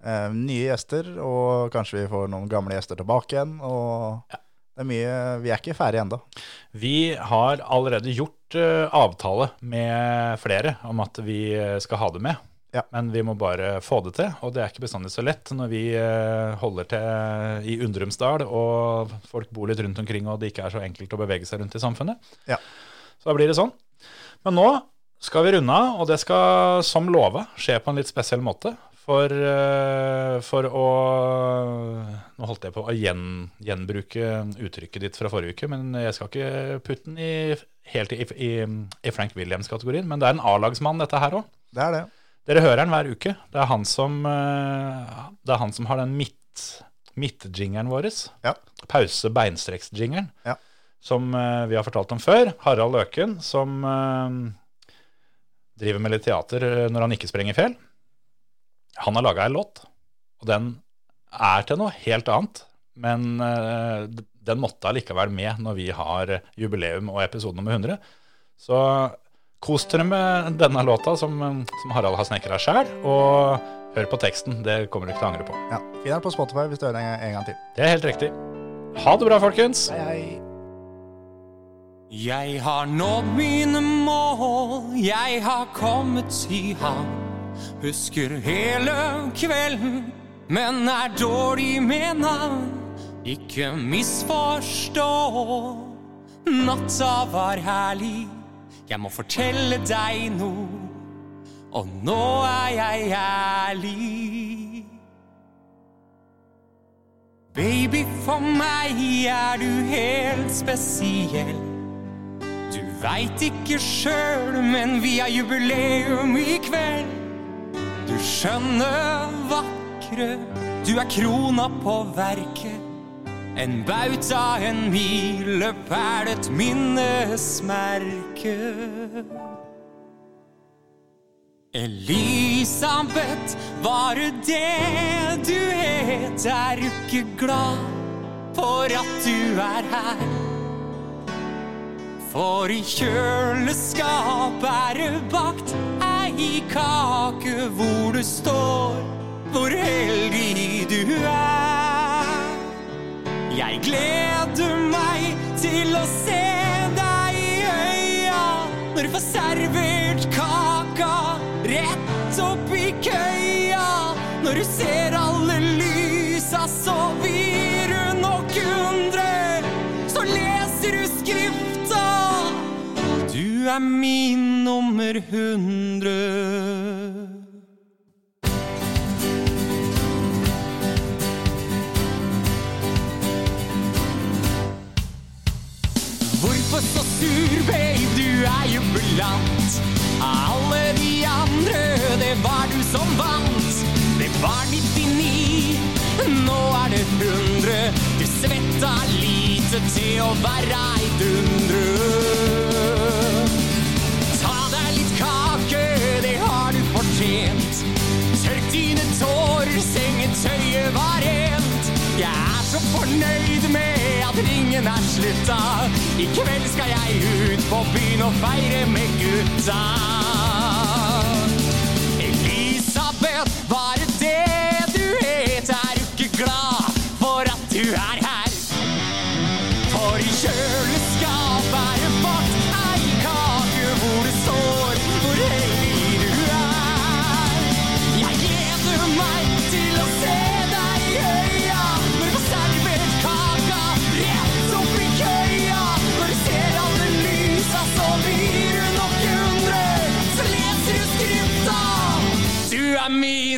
B: eh, nye gjester, og kanskje vi får noen gamle gjester tilbake igjen. Og det er mye, vi er ikke ferdige ennå.
A: Vi har allerede gjort eh, avtale med flere om at vi eh, skal ha det med.
B: Ja.
A: Men vi må bare få det til, og det er ikke bestandig så lett når vi eh, holder til eh, i Undrumsdal og folk bor litt rundt omkring og det ikke er så enkelt å bevege seg rundt i samfunnet.
B: Ja.
A: Så da blir det sånn. Men nå skal vi runde av, og det skal som lova skje på en litt spesiell måte. For, eh, for å Nå holdt jeg på å gjen, gjenbruke uttrykket ditt fra forrige uke, men jeg skal ikke putte den i, helt i, i, i Frank Williams-kategorien. Men det er en A-lagsmann, dette her òg.
B: Det er det.
A: Dere hører han hver uke. Det er han som, eh, det er han som har den midt, midtjingeren vår.
B: Ja.
A: Pause beinstreksjingeren.
B: Ja.
A: Som eh, vi har fortalt om før. Harald Løken, som eh, driver med litt teater eh, når han ikke sprenger fjell. Han har laga ei låt, og den er til noe helt annet. Men eh, d- den måtte allikevel med når vi har eh, jubileum og episode nummer 100. Så Kos dere med denne låta som, som Harald har snekra sjæl, og hør på teksten. Det kommer du ikke til å angre på.
B: Ja. Finn den på Spotify hvis du hører den en- en gang til.
A: Det er helt riktig. Ha det bra, folkens.
B: Hei, hei.
D: Jeg har nådd mine mål, jeg har kommet i havn. Husker hele kvelden, men er dårlig med navn. Ikke misforstå, natta var herlig. Jeg må fortelle deg noe, og nå er jeg ærlig. Baby, for meg er du helt spesiell. Du veit ikke sjøl, men vi har jubileum i kveld. Du skjønne vakre, du er krona på verket. En bauta, en milepæl, et minnesmerke. Elisabeth, var det det du het? Er du ikke glad for at du er her? For i kjøleskapet er det bakt ei kake hvor du står, hvor heldig du er. Jeg gleder meg til å se deg i øya når du får servert kaka rett opp i køya. Når du ser alle lysa, så blir du nok undrer. Så leser du skrifta. Du er min nummer hundre. Hvorfor så sur, babe? Du er jubilant. Av alle de andre, det var du som vant. Det var 99, nå er det 100. Du svetta lite til å være ei dundre. Ta deg litt kake, det har du fortjent. Tørk dine tårer, sengetøyet var rent. Jeg er så fornøyd med at ringen er slutta. I kveld skal jeg ut på byen og feire med gutta. Elisabeth, var det det du het? Er du ikke glad for at du er her? For i kjøleskapet er det bakt ei kake hvor det står hvor heldig du er. Jeg gleder meg til å se deg i øya når du får servert kaka rett opp i køya. Når du ser alle lysa, så blir du nok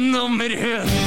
D: nummer 100.